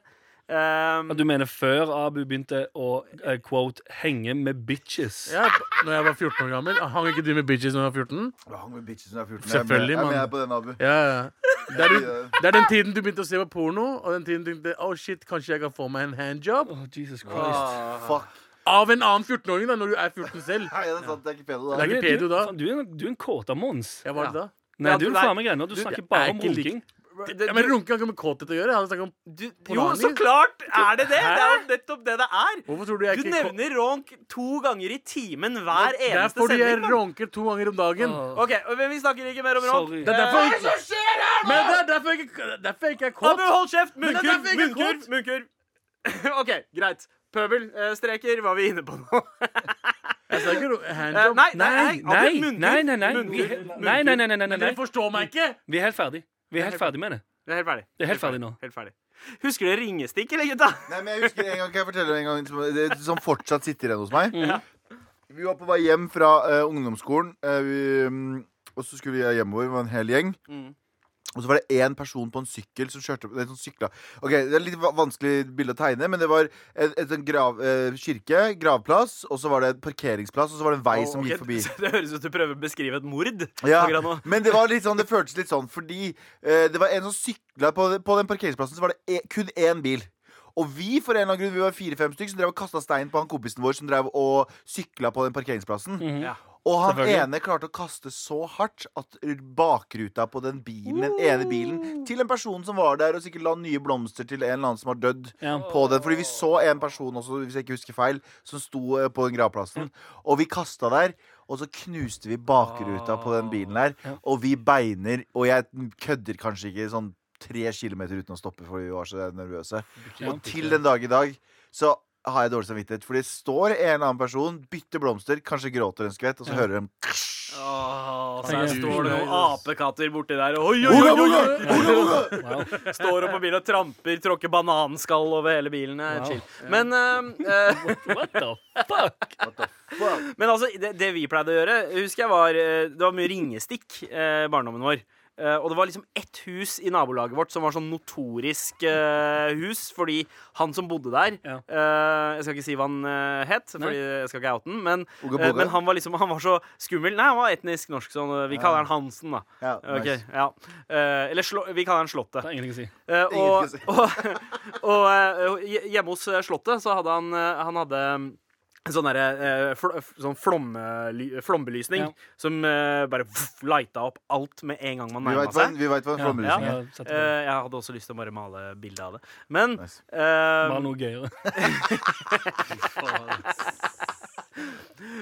S1: Um,
S5: Ja, Du mener før Abu begynte å eh, quote, 'henge med bitches'?
S6: Ja, når jeg var 14 år gammel. Ah, Hang ikke du med bitches når du var 14?
S2: Du hang med bitches når jeg er 14.
S6: Selvfølgelig,
S2: jeg, er med- jeg
S6: mann.
S2: er med på den, Abu.
S6: Ja, ja. Det er,
S2: Ja.
S6: du, det er den tiden du begynte å se på porno, og den tiden du tenkte oh shit, kanskje jeg kan få meg en handjob.
S5: Å, Jesus Christ.
S2: Fuck.
S6: Av en annen 14-åring, da, når du er 14 selv.
S2: Nei, det er sant. Det er ikke pedo, da.
S6: Det er ikke
S5: Du er- du-
S6: pedo da.
S5: faen, Du er en- du er en kåta Mons.
S6: Jeg var det da.
S5: Nei,
S1: Ja,
S5: du er
S1: du
S5: en
S1: er-
S5: faen meg greier. Du
S1: du-
S5: snakker
S6: jeg
S5: bare
S6: er
S5: om
S6: ikke lik-
S5: runking.
S1: det-
S6: Ja, men runke har ikke med kåthet å gjøre. Jeg hadde snakket om
S1: du, du, jo,
S6: Pornani.
S1: så klart er det det! Det er jo nettopp det det er.
S6: Hvorfor tror du jeg
S1: Du
S6: ikke kå-
S1: nevner ronk to ganger i timen hver
S6: Det er
S1: eneste
S6: fordi jeg
S1: sending. mann.
S6: ronker to ganger om dagen.
S1: OK, men vi snakker ikke mer om ronk.
S5: Sorry.
S6: Det er derfor jeg ikke Men det er derfor jeg ikke, derfor jeg ikke er
S1: Abu,
S6: kåt.
S1: hold kjeft!
S6: Men det er
S1: Munnkurv,
S6: derfor jeg ikke er
S1: munnkurv,
S6: kåt.
S1: munnkurv. OK, greit. eh, Pøbelstreker var vi inne på nå.
S6: Jeg sa ikke ro-
S1: Eh,
S6: handjob.
S1: nei, nei,
S5: Nei,
S1: nei,
S5: nei,
S1: munnkurv,
S5: nei, nei, nei.
S1: munnkurv,
S5: Vi-
S1: munnkurv.
S5: nei, nei, nei, nei, nei, nei, nei.
S6: Dere forstår meg ikke!
S5: Vi er helt ferdig. Vi er helt ferdig med det.
S1: Det er helt ferdig.
S5: Det er helt ferdig nå.
S1: Helt ferdig. Husker dere ringestikk, eller, gutta?
S2: Nei, men jeg husker en gang, kan jeg fortelle en gang som, det, som fortsatt sitter igjen hos meg? Vi var på vei hjem fra eh, ungdomsskolen, eh, vi, mm, og så skulle vi hjemover. Vi var en hel gjeng.
S1: Mm.
S2: Og så var det én person på en sykkel som kjørte nei, som sykla. Ok, Det er litt va- vanskelig bilde å tegne, men det var et, et, sånn grav, eh, kirke, gravplass, og så var det et parkeringsplass, og så var det en vei som
S1: Ok,
S2: gikk forbi.
S1: Det høres ut som du prøver å beskrive et mord
S2: Ja,
S1: akkurat nå.
S2: men det var litt sånn, det føltes litt sånn fordi eh, det var en som sykla på, på den parkeringsplassen, så var det e kun én bil. Og vi for en eller annen grunn, vi var fire-fem stykker som drev og kasta stein på han kompisen vår som drev og sykla på den parkeringsplassen.
S5: Mhm.
S1: Ja.
S2: Og han ene klarte å kaste så hardt at bakruta på den bilen, den ene bilen til en person som var der og sikkert la nye blomster til en eller annen som har dødd
S5: Ja.
S2: på den. Fordi vi så en person også, hvis jeg ikke husker feil, som sto eh, på den
S1: Mm.
S2: gravplassen. Og vi kasta der, og så knuste vi bakruta på den bilen der.
S1: Ah,
S2: Og vi beiner, og jeg kødder kanskje ikke sånn tre kilometer uten å stoppe fordi vi var så nervøse. Og til den dag i dag så har jeg dårlig samvittighet. Fordi det står en eller annen person, bytter blomster, kanskje gråter en skvett, og så hører de
S1: Åh, så
S5: Herregud.
S1: her står det noen apekatter borti der. Oi, oi,
S2: Oga,
S1: oi, oi,
S2: oga,
S1: oi.
S2: oga, oga!
S1: Står opp på bilen og tramper, tråkker bananskall over hele bilen. Eh,
S5: Wow.
S1: Chill. Men, eh, eh,
S5: What the fuck?
S2: Fuck.
S1: men altså, det, det vi pleide å gjøre Husker jeg var eh, Det var mye ringestikk eh, i barndommen vår. Eh, og det var liksom ett hus i nabolaget vårt som var sånn notorisk eh, hus, fordi han som bodde der
S5: Ja.
S1: eh, Jeg skal ikke si hva han eh, het, Fordi jeg skal ikke oute den, men,
S2: Oga,
S1: eh,
S2: boga.
S1: men han var liksom Han var så skummel. Nei, han var etnisk norsk, så eh, vi kaller han Hansen, da.
S2: Ja,
S1: Ok,
S2: nice.
S1: ja. Eh, eller slå, vi kaller han Slottet.
S5: Det er ingenting å si.
S1: Eh,
S2: Ingen
S1: og,
S2: skal si.
S1: og, og eh, hje- hjemme hos eh, Slottet så hadde han, eh, han hadde mm, en sånn derre eh, fl f- sånn flommely flombelysning
S5: Ja.
S1: som eh, bare voff, lighta opp alt med en gang man
S2: Vi
S1: nærma
S2: veit hva en
S1: seg.
S2: vi vet hva en
S5: Ja.
S2: flomlysning er.
S5: Ja, sett det.
S1: Eh, jeg hadde også lyst til å bare male bilde av det. Men
S2: Nice.
S1: eh,
S5: Bare noe gøyere.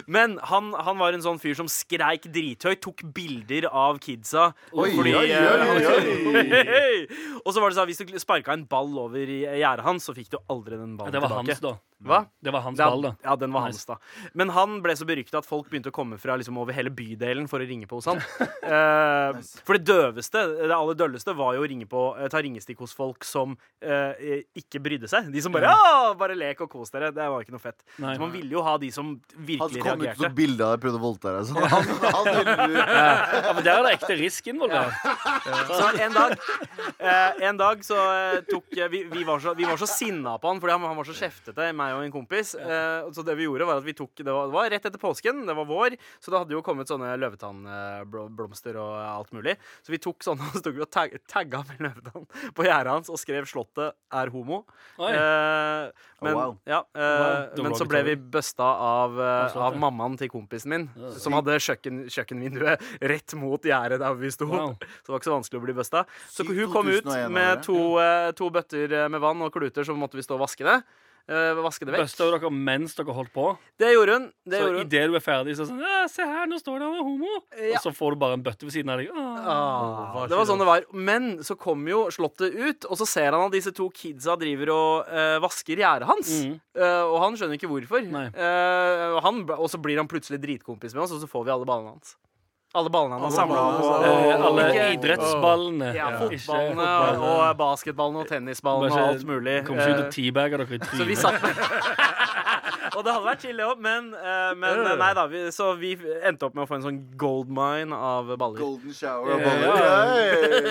S1: Men han, han var en sånn fyr som skreik drithøyt, tok bilder av kidsa.
S2: Oi,
S1: fordi,
S2: oi, oi, oi.
S1: eh, hei. Og så var det sånn at hvis du sparka en ball over i gjerdet hans, så fikk du aldri den ballen
S5: Det var hans,
S1: tilbake.
S5: da.
S1: Hva?
S5: Det var hans
S1: Ja,
S5: ball, da.
S1: Ja, den var
S5: Nice.
S1: hans, da. Men han ble så berykta at folk begynte å komme fra liksom, over hele bydelen for å ringe på hos han. Eh, For det døveste, det aller dølleste, var jo å ringe på, eh, ta ringestikk hos folk som eh, ikke brydde seg. De som bare ja. 'Bare lek og kos dere'. Det var ikke noe fett.
S5: Nei.
S1: Så man ville jo ha de som virkelig
S2: Han kom ut
S1: reagerte.
S2: som bilde av deg prøvde å voldta deg. Sånn. Han, han ville
S5: Ja, men Der er det ekte risk involvert.
S1: Så en dag, eh, en dag så eh, tok eh, vi, vi, var så, vi var så sinna på han, fordi han, han var så kjeftete, meg og en kompis. Eh, og så det vi gjorde, var at vi tok Det var, det var rett etter påsken, det var vår, så det hadde jo kommet sånne løvetannblomster og eh, alt mulig. Så vi tok sånne, og så tok vi og tag, tagga med løvetann på gjerdet hans og skrev 'Slottet er homo'.
S5: Oi.
S1: Eh, men,
S2: Oh, wow.
S1: ja, eh,
S5: Wow.
S1: men så ble vi busta av, eh,
S5: slottet.
S1: av mammaen til kompisen min, som hadde kjøkken, kjøkkenvinduet rett mot gjerdet der vi sto.
S5: Wow.
S1: Så det var ikke så vanskelig å bli busta. Så
S2: Syv
S1: hun kom ut
S2: 2001
S1: med
S2: året.
S1: to, eh, to bøtter eh, med vann og kluter, så måtte vi stå og vaske det. Eh, vaske det vekk.
S5: Busta dere mens dere holdt på.
S1: Det gjorde hun.
S5: Så
S1: Det gjorde hun.
S5: idet du er ferdig, så er det sånn «Ja, Se her, nå står det han er homo!
S1: Ja.
S5: Og så får du bare en bøtte ved siden av deg. Ah.
S1: Ah,
S6: Hva
S1: det var
S6: skjer
S1: sånn det var. Men så kom jo Slottet ut, og så ser han at disse to kidsa driver og eh, vasker gjerdet hans.
S5: Mm.
S1: Eh, og han skjønner ikke hvorfor.
S5: Nei.
S1: Eh, og han, og så blir han plutselig dritkompis med oss, og så får vi alle ballene hans. Alle ballene han har
S6: Alle
S1: samla
S6: ballene
S1: på.
S6: hans,
S5: Eh,
S1: og-
S5: alle
S1: Ikke-
S5: idrettsballene.
S1: Ja,
S5: Ikke
S1: fotballene
S5: fotballene.
S1: og, og basketballene og tennisballene og
S5: Bare
S1: alt mulig.
S5: Kommer ikke ut
S1: Eh,
S5: og teabager dere i trynet.
S1: Så vi satt Og det hadde vært chill, det òg, men, eh, men eh, nei da. Vi, så vi endte opp med å få en sånn gold mine av baller.
S2: Golden shower og
S5: Ja,
S2: baller.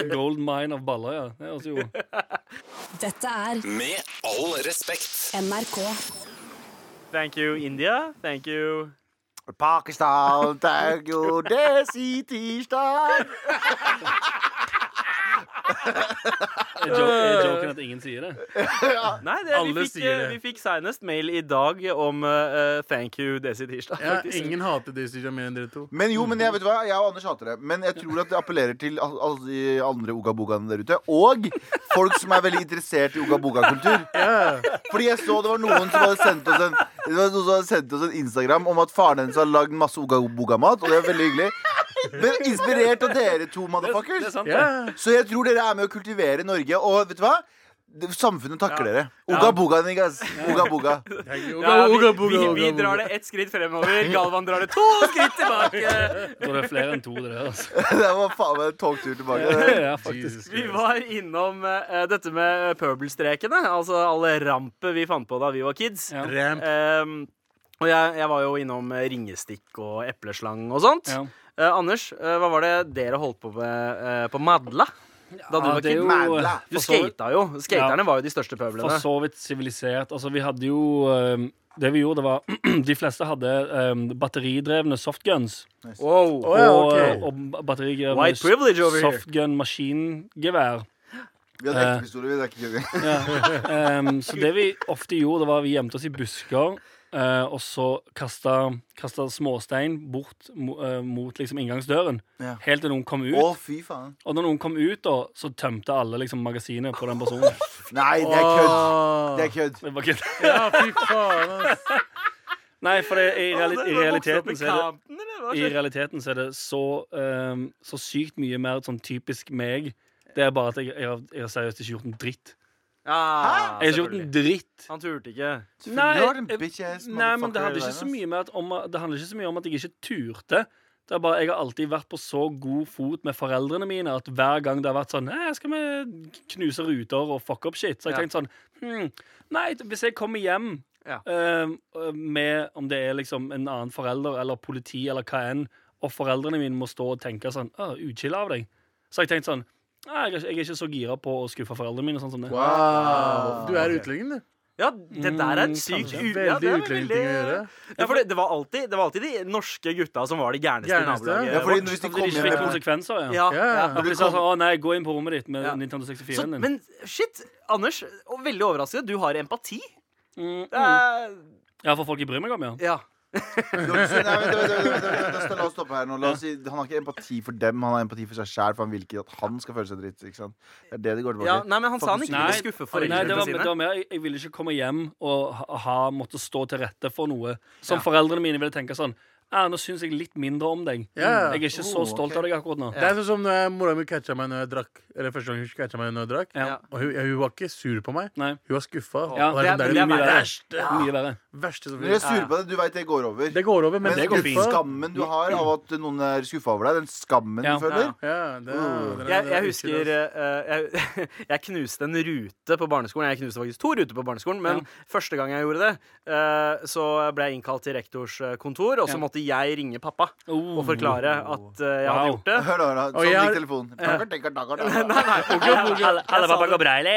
S5: ja. Gold mine av baller, ja. Det høres jo
S7: Dette er
S8: Med all respekt.
S7: NRK.
S1: Thank you, India. Thank you
S2: Pakistan, thank you, det sier tirsdag.
S5: Er jo- er joken at ingen sier det?
S1: Nei, det,
S6: Alle
S1: vi, fikk,
S6: sier
S1: eh,
S6: det.
S1: vi fikk senest mail i dag om eh, eh, thank you Desi Tirsdag.
S6: Ja,
S1: faktisk.
S6: ingen hater Daisy Jam mer enn dere to.
S2: Men jo, men jeg vet du hva, jeg og Anders hater det. Men jeg tror at det appellerer til al- alle de andre ogabogaene der ute. Og folk som er veldig interessert i ogaboga-kultur. Fordi jeg så det var noen som hadde sendt oss en Det var noen som hadde sendt oss en Instagram om at faren hennes har lagd masse ogaboga-mat, og det er veldig hyggelig. Men inspirert av dere to,
S5: Det er
S2: motherfuckers.
S5: sant, det.
S6: Ja.
S2: Så jeg tror dere er med å kultivere Norge. Og vet du hva? Det- Samfunnet takker dere. Ogaboga, niggas. Ogaboga.
S1: Ja, vi,
S6: Uga, buga,
S1: vi,
S6: uga,
S1: vi
S6: buga.
S1: drar det ett skritt fremover. Galvan drar det to skritt tilbake.
S5: Jeg tror det er flere enn to, det der. Altså.
S2: Det var faen meg en togtur tilbake.
S5: Ja, faktisk.
S6: Jesus
S1: Vi
S6: Christ.
S1: var innom eh, dette med pøbelstrekene. Altså alle rampet vi fant på da vi var kids.
S5: Ja.
S6: Ramp.
S1: Ehm, og jeg, jeg var jo innom eh, ringestikk og epleslang og sånt.
S5: Ja.
S1: Eh, Anders, eh, hva var det dere holdt på med eh, på Madla? Da du
S5: Ja,
S1: var
S5: det er
S1: kid?
S5: jo- eh,
S2: Madla.
S1: Du
S5: for så vidt-
S1: skata jo. Skaterne
S5: Ja.
S1: var jo de største pøblene.
S5: For så vidt sivilisert. Altså, vi hadde jo eh, Det vi gjorde, det var De fleste hadde eh, batteridrevne softguns.
S1: Wow.
S6: Å, ja,
S5: og,
S6: ok.
S5: og batteridrevne
S1: White privilege over here.
S5: softgun-maskingevær.
S2: Vi hadde ekte pistoler, vi. Det er ikke kødding.
S5: Ehm, så det vi ofte gjorde, det var vi gjemte oss i busker. eh, og så kasta, kasta småstein bort mo, eh, mot liksom inngangsdøren.
S2: Ja.
S5: Helt til noen kom ut.
S2: Å, fy faen.
S5: Og når noen kom ut, da, så tømte alle liksom magasinet på den personen.
S2: Nei, det er kødd. Det er kødd.
S5: Det var ikke
S6: Ah. Ja, fy faen, ass.
S5: Nei, for det, i, reali i realiteten så er det
S1: er
S5: I realiteten så er det så, ehm, så sykt mye mer sånn typisk meg. Det er bare at jeg, jeg, har, jeg har seriøst ikke gjort en dritt.
S1: Ja,
S5: Jeg har ikke gjort en
S1: selvfølgelig.
S5: dritt.
S1: Han turte ikke.
S5: Nei,
S2: Du har en
S5: jeg-
S2: bitch ass
S5: nei men det,
S2: motherfucker
S5: hadde
S2: i
S5: ikke
S2: deg,
S5: så
S2: ass.
S5: mye mer at om, det handler ikke så mye om at jeg ikke turte. Det er bare, Jeg har alltid vært på så god fot med foreldrene mine at hver gang det har vært sånn Nei, skal vi knuse ruter og fuck up shit? Så har jeg tenkt sånn hm, Nei, hvis jeg kommer hjem
S1: Ja.
S5: ehm, med om det er liksom en annen forelder eller politi eller hva enn, og foreldrene mine må stå og tenke sånn Å, uchill av deg. Så har jeg tenkt sånn Nei, jeg er ikke- jeg er ikke så gira på å skuffe foreldrene mine. og Sånn som det.
S6: Wow. Du er utlending, du.
S1: Ja, det der er en
S5: Mm,
S1: sykt
S5: kanskje.
S1: u- ja, det
S6: Veldig
S1: er
S6: utlendingting å gjøre.
S1: Ja, for det, det, var alltid, det var alltid de norske gutta som var de gærneste i
S6: Gærneste,
S1: nabolaget.
S2: Ja, fordi
S1: vårt.
S2: hvis de
S5: Fordi
S2: kom
S5: det ikke
S2: hjem
S5: fikk
S2: med politi-
S5: konsekvenser. ja.
S1: ja,
S6: Ja.
S1: ja.
S5: Ja, for de sa sånn, å nei, gå inn på rommet ditt med
S1: Ja.
S5: Nintendo
S1: Så,
S5: 64-en din.
S1: men shit, Anders, og veldig overraskende, du har empati.
S5: mm, mm.
S1: Det er,
S5: Ja, for folk jeg bryr meg om, ja.
S1: ja.
S2: Du har ikke så- Nei, vent, vent, vent, vent, vent, vent, vent, La oss stoppe her nå. La oss si, han har ikke empati for dem, han har empati for seg sjæl, for han vil ikke at han skal føle seg dritt. Ikke sant? Det er det det går
S1: ja.
S2: tilbake til.
S1: Nei, men han sa han ikke
S5: Nei,
S1: ville skuffe
S5: Nei, det
S1: foreldrene
S5: var,
S1: sine.
S5: det var mer, jeg, jeg ville ikke komme hjem og ha, ha måttet stå til rette for noe som foreldrene mine ville tenke sånn Ja, nå syns jeg litt mindre om deg.
S6: Ja.
S5: Jeg er ikke så
S1: Oh,
S5: stolt av deg akkurat nå.
S6: Det er sånn som når mora mi catcha meg når jeg drakk. Eller første gang hun catcha meg når jeg drakk.
S5: Ja.
S6: Og hun, ja, hun var ikke sur på meg.
S5: Nei.
S6: Hun var skuffa.
S5: Ja,
S6: Og det er sånn,
S1: det er-
S6: det, er
S5: mye
S6: det
S5: verre.
S6: verste,
S5: Mye verre.
S6: verste som
S2: Når jeg er
S6: finnes.
S2: sur på deg, du veit det går over.
S6: Det går over, men,
S2: men
S6: det går
S2: den
S6: fint.
S2: skammen du har av at noen er skuffa over deg, den skammen
S5: Ja.
S2: du føler
S6: Ja, det,
S2: Mm.
S6: det,
S1: Jeg,
S6: det
S1: jeg
S6: er ekkelt,
S1: husker
S6: ass.
S1: eh, jeg, jeg knuste en rute på barneskolen. Jeg knuste faktisk to ruter på barneskolen, men første gang jeg gjorde det, eh, så ble jeg innkalt til rektors eh, kontor, og så
S5: Ja.
S1: måtte jeg ringe pappa
S5: Oh.
S1: og forklare at eh, jeg hadde
S5: Wow.
S1: gjort det.
S2: Hør da, hør da. Sånn
S6: Og jeg
S2: gikk
S6: har-
S2: telefonen. Takker, takker, takker, takker.
S5: Alle pappa går breile.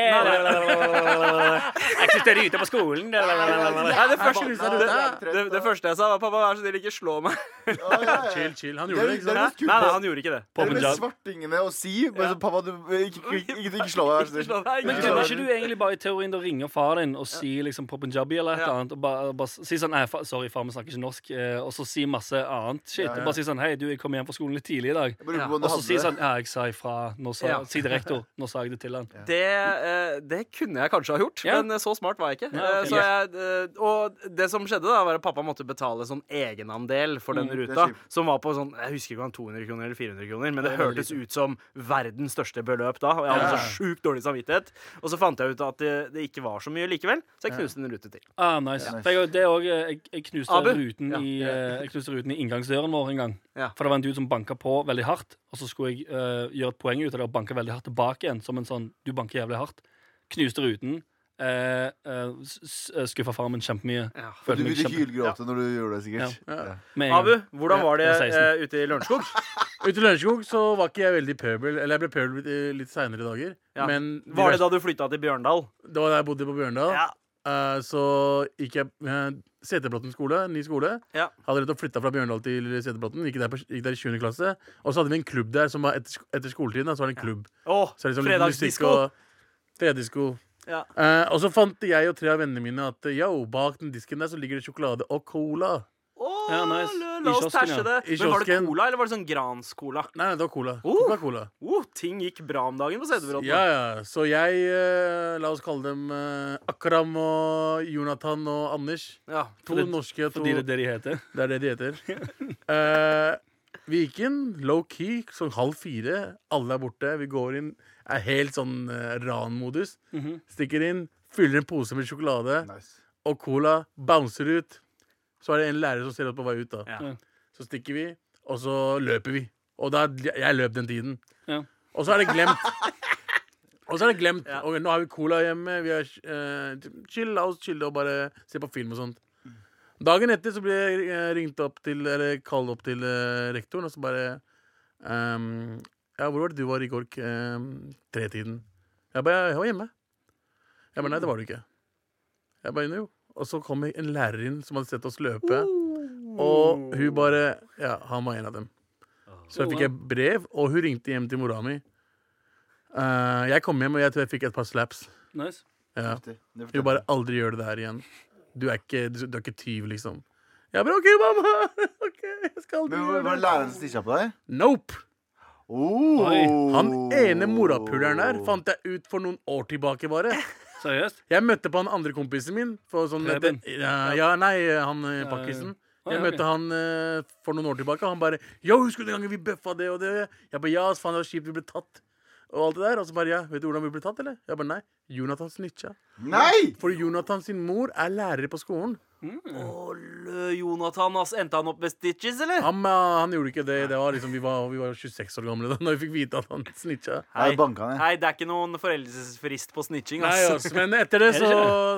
S5: Jeg synes dere er ute på skolen.
S1: Nei, det, første,
S2: Jeg
S1: det,
S2: bare-
S1: det, det, det første jeg sa, var 'pappa, vær så snill, ikke slå meg'.
S2: Ja, ja, ja.
S6: Chill, chill. Han
S2: Det
S6: gjorde
S2: er
S6: det,
S2: litt-
S6: ikke
S2: det er
S6: sant?
S1: Nei,
S2: litt kult.
S1: nei, han gjorde ikke
S2: Det
S1: det.
S2: er
S5: Pop and
S2: litt
S5: jab.
S2: svartingene å si. Bare sånn, pappa, du ikke, ikke, ikke, ikke slå meg. vær
S1: Ikke
S2: så
S1: slå
S2: snill.
S1: meg,
S5: Men
S1: ikke slå
S5: kunne
S1: meg.
S5: ikke du egentlig bare i teorien da ringe far din og si liksom på punjabi eller et eller annet? Og bare, bare si sånn Nei, fa sorry, far, vi snakker ikke norsk. eh, Og så si masse annet shit.
S2: Ja, ja.
S5: Bare si sånn Hei, du, jeg kom hjem fra skolen litt tidlig i dag.
S2: Jeg Bare lurer på hvordan
S5: Og
S2: du
S5: så
S2: hadde
S5: si
S2: det.
S5: sånn Ja, jeg sa ifra. Nå sa,
S1: Ja.
S5: Si til rektor. Nå sa jeg det til han.
S1: Det, eh, det kunne jeg kanskje ha gjort,
S5: Ja.
S1: men eh, så smart var jeg ikke.
S5: Ja, ok.
S1: Eh, så jeg, eh, og det som skjedde, da var at pappa måtte betale sånn egenandel for den
S2: det er
S1: ruta,
S2: kjipt.
S1: som var på sånn Jeg husker ikke om det var 200 kroner eller 400 kroner, men det hørtes ut som verdens største beløp da. Og jeg hadde så sjukt dårlig samvittighet. Og så fant jeg ut at det, det ikke var så mye likevel, så jeg knuste en rute til.
S5: Ah, nice. For jeg, det er også, eh, jeg, jeg, knuste
S1: Abu?
S5: ruten
S1: Ja.
S5: i, eh, jeg knuste ruten i inngangsdøren vår en gang.
S1: Ja.
S5: For det var en dude som banka på veldig hardt, og så skulle jeg eh, gjøre et poeng ut av det og banke veldig hardt tilbake igjen. Som en sånn Du banker jævlig hardt. Knuste ruten. Uh, Skuffa eh, faren min kjempemye.
S1: Ja.
S2: Du
S5: Følte meg
S2: begynte å
S5: kjempe...
S2: hylgråte når du gjorde det, sikkert. Ja.
S5: med en gang.
S1: Abu, hvordan var det
S5: Ja, jeg var
S1: eh, ute i Lørenskog?
S6: Ute i Lørenskog så var ikke jeg veldig pøbel. Eller jeg ble pøbel litt- eh, litt seinere dager.
S1: Ja.
S6: Men de
S1: Var det
S6: verste-
S1: da du flytta til Bjørndal?
S6: det var da jeg bodde på Bjørndal.
S1: Ja.
S6: Eh, så gikk jeg uh, Setebråten skole, ny skole.
S1: Ja.
S6: Hadde rett og flytta fra Bjørndal til Setebråten. Gikk der, på, gikk der i 7. klasse. Og så hadde vi en klubb der som var etter, sk- etter skoletiden. da, Så var det en klubb
S1: Å,
S6: Så det er liksom litt musikk
S1: fredagsdisko!
S6: og Fredagsdisko.
S1: Ja.
S6: Eh, og så fant jeg og tre av vennene mine at eh, yo, bak den disken der så ligger det sjokolade og cola.
S1: Å,
S5: Ja, nice.
S1: la,
S5: I
S1: la oss
S5: kiosken,
S1: tæsje
S5: ja.
S1: det.
S6: I
S1: Men var det
S6: kiosken.
S1: cola, eller var det sånn Grans-cola?
S6: Nei, nei, det var cola.
S5: Uh,
S1: Oh!
S6: Coca-Cola.
S1: Oh, ting gikk bra om dagen på Sæterbråten.
S6: Ja, ja. Så jeg eh, La oss kalle dem eh, Akram og Jonathan og Anders.
S1: Ja.
S6: To
S5: Fordi-
S6: norske og to
S5: Fordi det er det de heter.
S6: Det er det de heter. Eh, vi gikk inn low-key sånn halv fire. Alle er borte. Vi går inn, er helt sånn eh, ranmodus.
S5: Mhm.
S6: Stikker inn, fyller en pose med sjokolade
S2: Nice.
S6: og cola. Bouncer ut. Så er det en lærer som ser oss på vei ut. da
S1: Ja.
S6: Så stikker vi, og så løper vi. Og da, jeg løp den tiden.
S5: Ja.
S6: Og så er det glemt. Og så er det glemt.
S1: Ja.
S6: Og nå har vi cola hjemme. Vi har eh, chill, la oss chille og bare se på film og sånt. Dagen etter så ble jeg eh, ringt opp til Eller kalt opp til eh, rektoren, og så bare ehm, Ja, hvor var det du var i går? k- ehm, Tretiden. Jeg bare Jeg var hjemme. Jeg bare Nei, det var du ikke. Jeg bare Jo. Og så kom en lærer inn som hadde sett oss løpe, og hun bare Ja, han var en av dem. Så jeg fikk et brev, og hun ringte hjem til mora mi. Eh, jeg kom hjem, og jeg tror jeg fikk et par slaps.
S5: Nice.
S6: Ja.
S2: Det
S6: Hun
S2: fortjener
S6: bare 'aldri gjør det der igjen'. Du er ikke, du, du er ikke tyv, liksom. Jeg bare 'OK, mamma'. Ok, jeg skal aldri
S2: Men hva-
S6: gjøre
S2: Var det
S6: det.
S2: læreren som stitcha på deg?
S6: Nope.
S2: Oh.
S6: Han ene morapuleren der fant jeg ut for noen år tilbake, bare.
S5: Seriøst?
S6: Jeg møtte på han andre kompisen min. For sånn
S5: Preben.
S6: ja, ja, nei, han eh, pakkisen.
S5: Å,
S6: Jeg
S5: ja,
S6: møtte
S5: ok.
S6: han eh, for noen år tilbake, og han bare 'Yo, husker du den gangen vi bøffa det og det?' Jeg bare 'Ja, ass, faen, det var kjipt, vi ble tatt'. Og alt det der, og så bare ja, 'Vet du hvordan vi ble tatt, eller?' Jeg bare 'Nei, Jonathan snitcha'.
S2: Nei!
S6: For Jonathan sin mor er lærer på skolen.
S1: Olle, Jonathan, ass. Endte han opp med stitches, eller?
S6: Han, eh, han gjorde ikke det. det var liksom, vi, var, vi var 26 år gamle da når vi fikk vite at han snitcha.
S2: Jeg banka han, jeg.
S1: Nei, det er ikke noen foreldelsesfrist på snitching,
S6: Nei,
S1: ass.
S6: ass, men etter det så,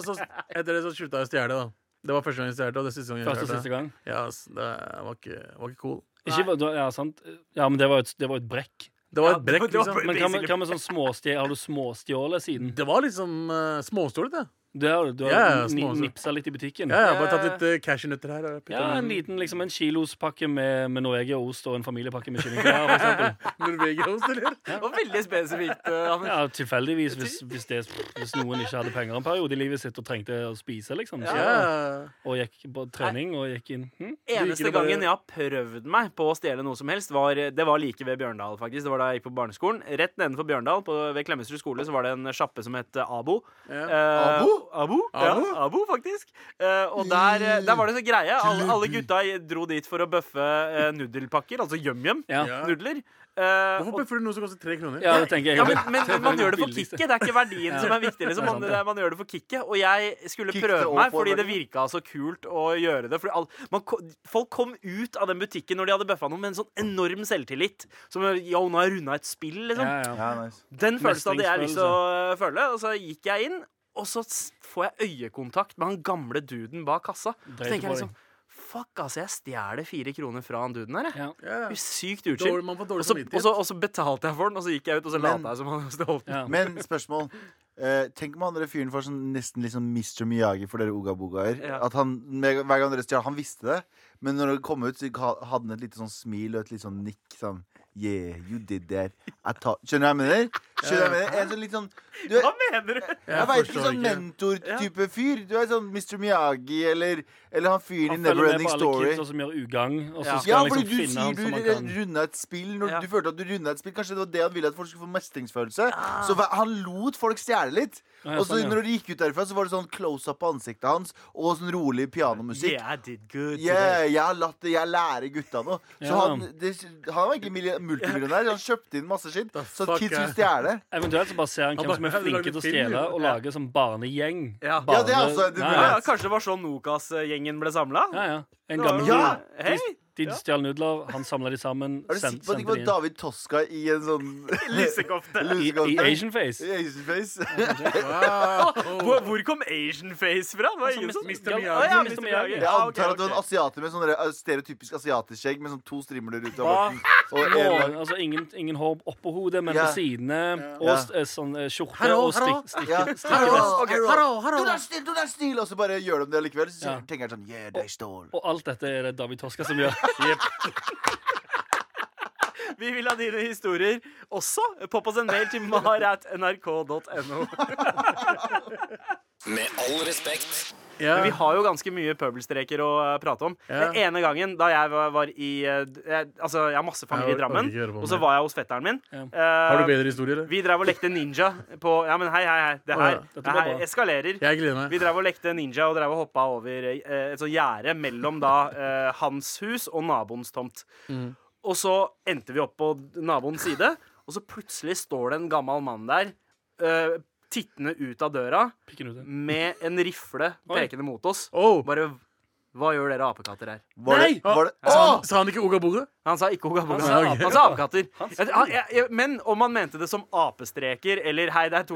S6: så, etter det så slutta jeg å stjele, da. Det var første gang jeg stjal, og det er siste gang jeg
S5: Første og
S6: stjal.
S5: siste gang.
S6: Ja, ass, det var ikke, var ikke cool.
S5: Ikke, var- da- ja, sant. ja, men det var jo et, det var jo et brekk.
S6: Det var
S1: Ja,
S6: et brekk,
S1: det var-
S6: liksom.
S5: Men hva med, hva med sånn småstjålet? Har du småstjålet siden?
S6: Det var liksom uh, småstålet, det.
S5: Det har du. Du har
S6: Ja, ja,
S5: ni,
S6: småstjålet.
S5: nipsa litt i butikken.
S6: Ja, jeg har bare tatt litt eh, cash i nøtter her. og puttet
S5: Ja, en
S6: den i
S5: liten liksom en kilospakke med, med Norgeost og en familiepakke med kyllingklær, for eksempel.
S6: Norvegiaost, eller?
S1: Det var veldig spesifikt. eh, Anders.
S5: Ja, tilfeldigvis, hvis, hvis, det, hvis noen ikke hadde penger en periode i livet sitt og trengte å spise, liksom. Så,
S6: Ja.
S5: Og gikk på trening og gikk inn. Hm?
S1: Eneste
S6: liker det bare-
S1: gangen jeg har prøvd meg på å stjele noe som helst, var, det var like ved Bjørndal, faktisk. Det var da jeg gikk på barneskolen. Rett nedenfor Bjørndal, på, ved Klemetsrud skole, så var det en sjappe som het eh, Abo.
S6: Ja.
S1: Eh,
S2: Abo?
S1: Abo, ja,
S6: Abo?
S1: Abo faktisk. Eh, og der, eh, der var det så greie. Alle, alle gutta dro dit for å bøffe eh, nudelpakker, altså yum-yum.
S5: Ja.
S6: Ja.
S1: Nudler. Eh,
S6: Hvorfor
S1: og,
S6: bøffer du noe som koster tre kroner?
S5: Ja, det tenker jeg
S1: ja, men,
S5: også.
S1: men man gjør det for
S5: billigste.
S1: kicket. Det er ikke verdien
S5: Ja.
S1: som er viktig. Liksom.
S5: Det er sant,
S1: Man,
S5: ja.
S1: man gjør det for kicket. Og jeg skulle
S2: Kicket
S1: prøve
S2: og
S1: meg,
S2: får
S1: fordi det
S2: verdi.
S1: virka så kult å gjøre det. Fordi all, man, ko- folk kom ut av den butikken når de hadde bøffa noe, med en sånn enorm selvtillit. Som Yo, nå har jeg runda et spill, liksom.
S5: Ja, ja.
S2: Ja, nice.
S1: Den følelsen hadde jeg lyst til å øh, føle, og så gikk jeg inn. Og så s- får jeg øyekontakt med han gamle duden bak kassa. Så
S5: Dreit
S1: tenker jeg
S5: på
S1: liksom Fuck, altså, jeg stjeler fire kroner fra han duden her, jeg.
S5: Ja.
S6: Ja.
S1: Sykt
S6: Dårlig,
S1: uchill.
S6: man får
S1: Og
S6: dårlig
S1: så, og, så,
S6: samvittighet.
S1: og så betalte jeg for den, og så gikk jeg ut, og så
S2: Men-
S1: lata jeg som han stjal den.
S5: Ja.
S2: Men spørsmål. Eh, tenk om han andre fyren var sånn, nesten litt sånn Mr. Miyagi for dere ogabogaer.
S1: Ja.
S2: At han, med- Hver gang dere stjal Han visste det, men når det kom ut, så ha- hadde han et lite sånn smil og et litt sånn nikk. Sånn Yeah, you did that. I ta Skjønner du hva jeg mener? Skjønner du hva jeg mener? En sånn litt sånn du, er-
S1: Hva mener du?
S2: Jeg vet ikke,
S6: forstår
S2: sånn
S6: ikke.
S2: mentor-type fyr. Du er sånn Mr. Miyagi eller, eller han fyren i
S5: Han følger med
S2: Neverending
S5: på alle
S2: Story.
S5: kidsa som gjør ugagn, og så
S1: Ja.
S5: skal
S2: Ja,
S5: han
S2: fordi
S5: liksom
S2: du
S5: finne
S2: sier
S5: han
S2: du
S5: som han kan
S2: runda et spill. Når
S1: Ja.
S2: Du følte at du runda et spill Kanskje det var det han ville at folk skulle få mestringsfølelse. Så hva- han lot folk stjele litt.
S5: Ja, ja,
S2: og så
S5: sånn, ja.
S2: når de gikk ut derfra, så var det sånn close up på ansiktet hans og sånn rolig pianomusikk.
S1: Yeah, I did good
S2: Yeah,
S1: today.
S2: jeg har latt det, jeg lærer gutta noe. Så
S5: Ja.
S2: han, det, han var egentlig milli- multimillionær. Han kjøpte inn masse skitt, så
S6: fuck,
S2: at kids
S6: ja.
S2: skulle stjele.
S5: Eventuelt så bare ser han hvem
S6: bare,
S5: som er
S6: "Har du
S5: flinke til å
S6: laget film,
S5: stjele,
S6: du?"
S5: og lage sånn barnegjeng.
S1: Ja.
S5: Barne...
S2: Ja, det er altså en
S5: ja,
S1: Ja,
S5: ja.
S1: ja, kanskje det var sånn Nokas-gjengen ble samla?
S5: ja, ja. En
S1: Det var
S5: gammel
S1: jo-
S2: Ja!
S1: Hei!
S5: De, de stjal nudler, han samla de sammen,
S2: Er du sikker
S5: sendte
S2: på at det ikke
S5: sendte
S2: var
S5: de inn.
S2: David Toska i en sånn
S5: I,
S1: Lysekofte.
S5: I Asian Face.
S2: Asian face?
S6: Wow.
S1: Hvor, hvor kom Asian Face fra? Det var ingen som
S6: Mr. Miyagi.
S1: Å, ja,
S5: Mr.
S1: Mr.
S5: Miyagi.
S1: Miyagi.
S2: Jeg
S1: Ja, ok,
S2: antar at det var
S1: ok.
S2: en asiater med sånn der, eh, stereotypisk asiatisk skjegg med sånn to strimler ut av
S5: Hva?
S2: borten. Og en
S5: Nå,
S2: lang-
S5: altså ingen, ingen hår oppå hodet, men
S2: Ja.
S5: på sidene. Og
S2: Ja.
S5: s- eh, sånn eh, skjorte
S6: Hallo,
S5: og
S6: hallo.
S5: stikk, stikke,
S2: Ja.
S5: stikkevest.
S2: Hallo,
S1: Ok,
S2: hallo.
S6: hallo, hallo.
S2: Du er snill, du er snill! Og så bare gjør de det likevel. Så
S5: Ja.
S2: tenker jeg sånn Yeah, they stole.
S5: Og alt dette er det David Toska som gjør.
S1: Vi vil ha dine historier også. Popp oss en mail til mar.nrk.no.
S8: Med all respekt.
S6: Ja.
S1: Men vi har jo ganske mye pøbelstreker å eh, prate om.
S6: Ja.
S1: Den ene gangen da jeg var, var i eh, d- jeg, Altså, jeg har masse familie
S6: Jeg
S1: i
S6: orker
S1: Drammen,
S6: ikke høre på
S1: og
S6: mer.
S1: så var jeg hos fetteren min.
S5: Ja.
S1: Eh,
S6: Har du bedre historier? eller?
S1: vi drev og lekte ninja på Ja, men hei, hei, hei. Det
S6: Å, ja.
S1: her,
S5: Dette
S1: det
S5: blir
S1: her
S5: bra.
S1: eskalerer.
S6: Jeg gleder meg.
S1: Vi drev og lekte ninja og drev og hoppa over eh, et sånt gjerde mellom da eh, hans hus og naboens tomt.
S5: Mm.
S1: Og så endte vi opp på naboens side, og så plutselig står det en gammel mann der eh, tittende ut av døra
S5: Pikken ute.
S1: med en rifle
S5: Oi.
S1: pekende mot oss.
S6: Oh.
S1: Bare Hva gjør dere apekatter her?
S2: Var det,
S5: Nei!
S2: var det, sånn,
S6: Sa,
S2: Åh!
S6: han, sa han ikke ogaboga?
S1: Han sa ikke hogaboga.
S5: sa
S1: Han,
S5: ape-
S1: sa apekatter. Jeg- han- jeg- jeg- Men om han mente det som apestreker eller Hei, det er to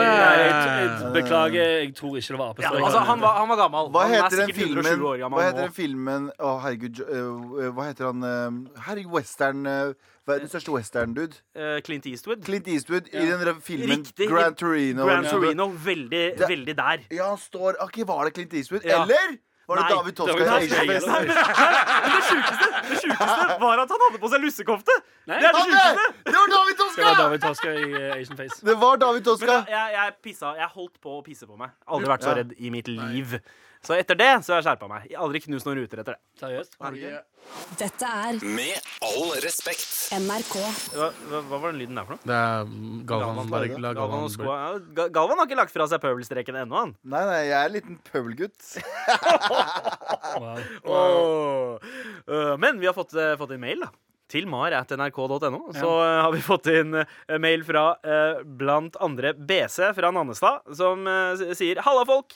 S5: Eh,
S1: eller-
S5: jeg- jeg- Beklager, jeg tror ikke det var
S1: ja,
S5: apestreker.
S1: altså, han var, han var gammel.
S2: Hva
S1: han er
S2: heter den
S1: sikkert 107
S2: filmen
S1: år gammel
S2: Hva heter
S1: nå.
S2: den filmen Å, herregud. jo- eh, hva heter han eh, Herregud, western eh, Verdens største western-dude.
S1: Eh, Clint Eastwood.
S2: Clint Eastwood i den der filmen
S1: Riktig.
S2: Grand Torino.
S1: Gran Torino, veldig,
S2: Det-
S1: veldig der.
S2: Ja, han står ah, Ok, var det Clint Eastwood?
S1: Ja.
S2: Eller var det
S1: Nei,
S2: David Toska?
S5: David
S2: i
S5: Toska.
S2: Asian Face?
S5: Nei,
S1: Men det sjukeste, det sjukeste var at han hadde på seg lussekofte!
S5: Nei,
S1: Det er det
S2: Han der!
S1: sjukeste!
S2: Det var David
S5: Det var
S2: Toska!
S5: David Toska i eh, Asian Face.
S2: Det var David
S1: Men da,
S2: Toska.
S1: jeg, jeg, pissa, jeg holdt på å pisse på meg. Aldri vært så
S2: Ja.
S1: redd i mitt liv. Så etter det så har jeg skjerpa meg. Jeg har Aldri knust noen ruter etter det.
S5: Seriøst?
S7: Dette er
S8: Med all respekt.
S7: NRK.
S1: Hva, hva, hva var den lyden der for noe?
S6: Det er Galvan.
S1: Galvan,
S6: Bare
S2: det.
S6: la
S1: Galvan,
S6: Galvan
S1: og skoa-
S6: bli-
S1: ja, Ga- Galvan har ikke lagt fra seg pøbelstreken ennå, han.
S2: Nei, nei, jeg er en liten pøbelgutt.
S5: Wow.
S1: Øh, men vi har fått, eh, fått inn mail, da. Til mar.nrk.no. Så eh, har vi fått inn eh, mail fra eh, blant andre BC fra Nannestad, som eh, s- sier Halla, folk!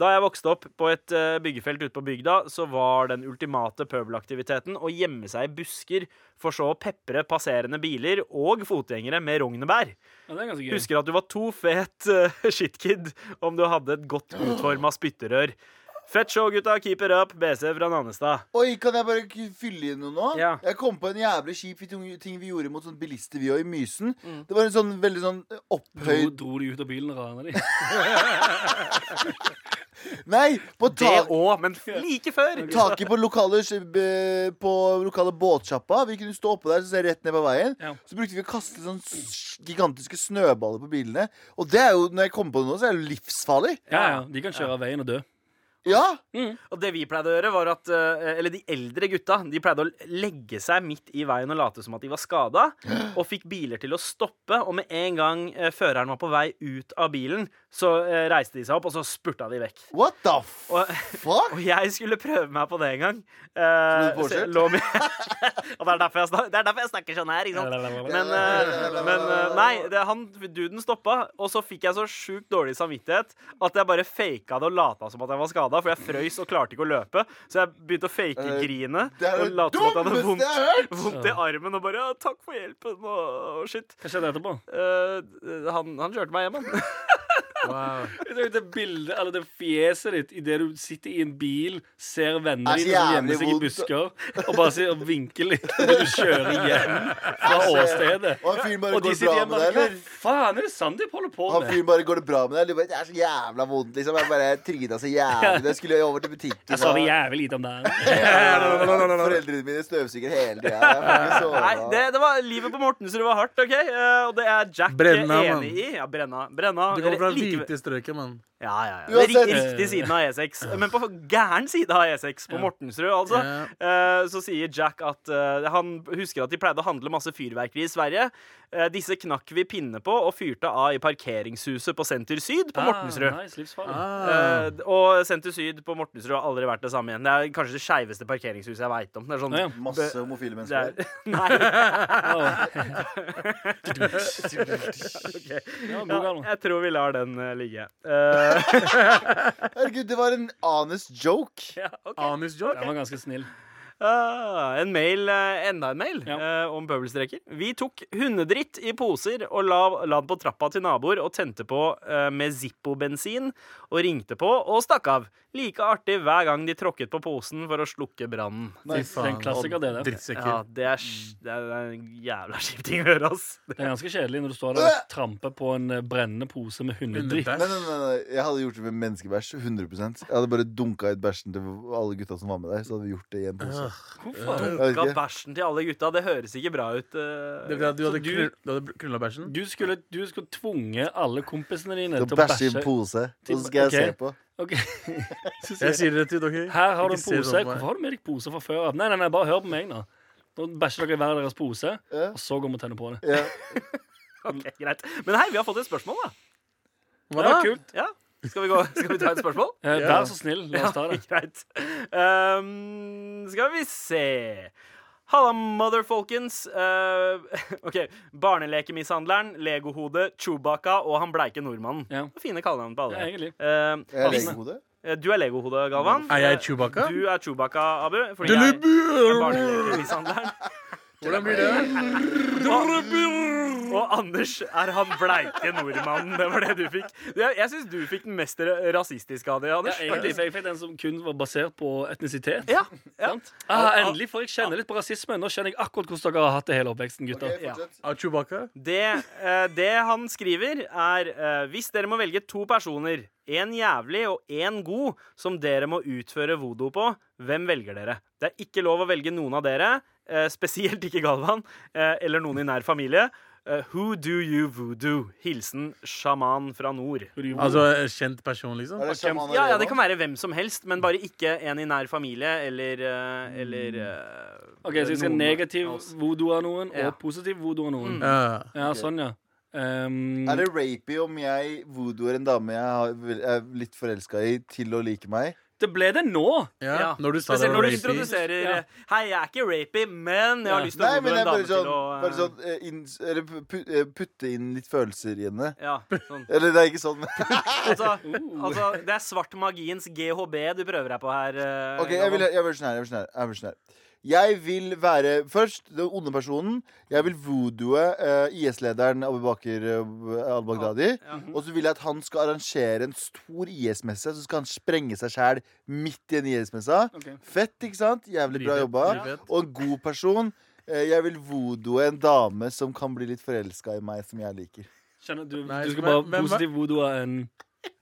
S1: Da jeg vokste opp på et eh, byggefelt ute på bygda, så var den ultimate pøbelaktiviteten å gjemme seg i busker, for så å pepre passerende biler og fotgjengere med rognebær.
S5: Ja, det er ganske gøy.
S1: Husker at du var to fet uh, shitkid om du hadde et godt utforma spytterør. Fett show, gutta. Keep it up. BC fra Nannestad.
S2: Oi, kan jeg bare k- fylle inn noe nå?
S1: Ja.
S2: Jeg kom på en jævlig kjip ting ting vi gjorde mot sånne bilister vi òg, i Mysen. Det var en sånn veldig sånn eh,
S5: Dro,
S2: opphøyd
S5: dro de ut av bilen og rana de?
S2: Nei! På
S1: Det
S2: ta
S1: òg, men like før.
S2: taket på lokale, sk- b- på lokale båtsjappa. Vi kunne stå oppå der så se rett ned på veien.
S5: Ja.
S2: Så brukte vi å kaste sånn s- gigantiske snøballer på bilene. Og det er jo, når jeg kommer på det nå, så er det jo livsfarlig.
S5: Ja, ja. De kan kjøre av veien og dø.
S2: Ja!
S1: Og det vi pleide å gjøre var at, eh, eller De eldre gutta de pleide å legge seg midt i veien og late som at de var skada. Og fikk biler til å stoppe. Og med en gang eh, føreren var på vei ut av bilen, så eh, reiste de seg opp, og så spurta de vekk.
S2: What the f
S1: Og,
S2: fuck?
S1: og jeg skulle prøve meg på det en gang.
S2: du
S1: Eh, så jeg
S2: påkjørt?
S1: lå med, og det er, derfor jeg snak, det er derfor jeg snakker sånn her, ikke sant? Men, eh, men eh, nei, det, han, duden stoppa, og så fikk jeg så sjukt dårlig samvittighet at jeg bare faka det og lata som at jeg var skada, for jeg frøys og klarte ikke å løpe. Så jeg begynte å fake
S2: Eh,
S1: grine
S2: Det er
S1: og
S2: det
S1: late som at jeg hadde
S2: dummeste jeg
S1: vondt,
S2: har hørt!
S1: vondt i armen og bare ja, 'Takk for hjelpen' og, og shit.
S5: Hva skjedde etterpå?
S1: Eh, han, han kjørte meg hjem, han.
S6: Wow.
S5: Det, det bildet, eller det fjeset ditt idet du sitter i en bil, ser vennene
S2: Er så
S5: dine
S2: Altså, jævlig
S5: som gjemmer seg i
S2: vondt.
S5: busker, og bare sier, og vinker litt når du kjører hjem fra åstedet.
S2: Og han fyren altså, bare
S5: Og de
S2: går
S5: sitter
S2: bra
S5: hjemme
S2: med
S5: og
S2: deg,
S5: bare
S2: eller?
S5: Hva faen er det Sandeep holder på
S2: Han
S5: med?
S2: fyren bare går det bra med deg? Du bare, Det er så jævla vondt, liksom. Jeg bare tryna så jævlig. Jeg skulle jo over til butikken.
S5: Jeg sover
S2: og-
S5: jævlig lite om dagen.
S2: Foreldrene mine støvsuger hele tida. Jeg får ikke sove.
S1: Nei, det, det var Livet på Mortensrud var hardt, OK? Eh, og det er Jack eh,
S6: Brenna, mann.
S1: enig i. Ja, Brenna. Brenna
S6: Du kommer fra
S1: Likevel-
S6: hvite strøket, mann.
S1: Ja, ja, ja. Det er
S2: Uansett.
S1: rik- riktig siden av E6. Men på gæren side av E6, på Mortensrud, altså,
S6: Ja.
S1: eh, så sier Jack at eh, han husker at de pleide å handle masse fyrverkeri i Sverige. Eh, Disse knakk vi pinne på og fyrte av i parkeringshuset på Senter Syd på Mortensrud.
S5: Ah, nice, livsfarlig.
S6: Ah.
S1: Eh, og Senter Syd på Mortensrud har aldri vært det samme igjen. Det er kanskje det skeiveste parkeringshuset jeg veit om. Det er sånn
S5: Ja, ja.
S2: Masse homofile
S1: det
S2: mennesker.
S1: er, Nei.
S5: Ja, god
S1: Ja,
S5: gammel.
S1: jeg tror vi lar den eh, ligge. Eh,
S2: Herregud, det var en honest joke.
S1: ja, ok.
S6: Anus joke?
S5: Den var ganske snill.
S1: Ah, en mail, eh, enda en mail
S5: Ja.
S1: eh, om pøbelstreker. Vi tok hundedritt i poser og la, la den på trappa til naboer og tente på eh, med Zippo-bensin og ringte på og stakk av. Like artig hver gang de tråkket på posen for å slukke brannen.
S6: Fy
S5: Det er en klassiker, det der.
S6: Drittsekker.
S1: Ja, det er, sj- det er en jævla kjip ting å høre, ass.
S5: Det er ganske kjedelig når du står der og tramper på en eh, brennende pose med hundedritt.
S2: Nei, nei, nei, nei, jeg hadde gjort det med menneskebæsj. 100 Jeg hadde bare dunka ut bæsjen til alle gutta som var med der. Så hadde vi gjort det i en pose.
S5: Hvorfor?
S2: Jeg
S1: Ga
S2: vet ikke.
S1: bæsjen til alle gutta. Det høres ikke bra ut. eh.
S6: Det vil si at du hadde,
S5: du-
S6: knull, du hadde knulla bæsjen?
S5: Du skulle, du skulle tvunge alle kompisene dine
S2: Så
S5: til å
S2: bæsje i en
S5: bæsje.
S2: pose, og så skal jeg
S5: Ok.
S2: se på.
S5: Ok. Så sier
S6: Jeg
S5: jeg,
S6: sier det til dere.
S5: Her har du en
S6: Ikke se
S5: pose.
S6: sånn på meg.
S5: Hvorfor har du med deg pose fra før av? Nei, nei, nei, bare hør på meg, nå. Nå bæsjer dere i hver deres pose,
S2: Ja.
S5: og så går vi og tenner på det.
S2: Ja.
S1: Ok, greit. Men hei, vi har fått et spørsmål, da.
S5: Det
S6: Hva da?
S5: var kult.
S1: Ja. Skal, vi gå, skal vi ta et spørsmål?
S5: Eh,
S6: Ja.
S5: Vær så snill, la oss ta det.
S1: Greit. Ehm, skal vi se Halla, mother, folkens. Eh, OK. Barnelekemishandleren, legohodet, Chewbacca og han bleike nordmannen.
S5: Ja.
S1: Fine kallenavn på alle.
S5: Ja, egentlig.
S1: Eh,
S2: Jeg er
S1: hvis-
S2: legehode.
S1: eh, du er legohodet, Galvan. Eh,
S6: Er jeg Chewbacca?
S1: Du er Chewbacca, Abu. Fordi jeg er
S6: Hvordan
S1: barnelekemishandleren.
S6: blir det?
S1: Og Anders er han bleike nordmannen. Det var det du fikk. Jeg, jeg syns du fikk den mest ra- rasistiske av de,
S5: Ja,
S1: Anders.
S5: egentlig, for jeg fikk den som kun var basert på etnisitet.
S1: Ja, ja.
S5: Sant? Ah, endelig får jeg kjenne litt på rasisme. Nå kjenner jeg akkurat hvordan dere har hatt det hele oppveksten, gutter.
S2: Ok, fortsett.
S6: Er Chewbacca?
S1: Det, eh, det han skriver, er eh, Hvis dere må velge to personer, én jævlig og én god, som dere må utføre vodo på, hvem velger dere? Det er ikke lov å velge noen av dere, eh, spesielt ikke Galvan, eh, eller noen i nær familie. Eh, who do you voodoo? Hilsen sjaman fra nord.
S6: Altså en kjent person, liksom?
S2: Er det sjaman
S1: Ja, ja,
S2: Elena?
S1: Det kan være hvem som helst, men bare ikke en i nær familie eller, eh, eller eh,
S5: Ok, Så jeg skal
S1: noen-
S5: negativ
S6: altså.
S5: voodoo av noen,
S1: Ja.
S5: og positiv voodoo av noen.
S6: Ja.
S5: Ja, sånn, ja. Um,
S1: Mm.
S2: Er det rapey om jeg voodooer en dame jeg har- er litt forelska i, til å like meg?
S5: Det ble det nå!
S6: ja. Når du sa det
S1: Spesielt
S6: var
S1: når du
S6: rapey.
S1: introduserer
S5: Ja.
S1: eh, Hei, jeg er ikke rapey, men jeg har
S5: Ja.
S1: lyst til å
S2: Mm. Nei, men
S1: gå med
S2: jeg
S1: en
S2: bare
S1: dame
S2: sånn,
S1: til å eh,
S2: bare sånn eh, inns- Eller pu- pu- eh, putte inn litt følelser i henne.
S1: Ja, sånn.
S2: Eller det er ikke sånn.
S1: altså, altså, det er svart magiens GHB du prøver deg på her. eh,
S2: Ok, jeg vil,
S1: Galvan.
S2: jeg vil sånn her, jeg vil sånn her, jeg vil sånn her. Jeg vil være først den onde personen. Jeg vil voodooe eh, IS-lederen Abu Bakr eh, al-Baghdadi. Og så vil jeg at han skal arrangere en stor IS-messe. Så skal han sprenge seg sjæl midt i en IS-messa.
S5: Ok.
S2: Fett, ikke sant? Jævlig bra
S6: Drivfett,
S2: jobba.
S6: drivfett.
S2: Og en god person. Eh, jeg vil voodooe en dame som kan bli litt forelska i meg, som jeg liker.
S5: Kjenner du,
S6: Nei,
S5: du skal
S6: men-
S5: bare
S6: men-
S5: positiv voodoo av en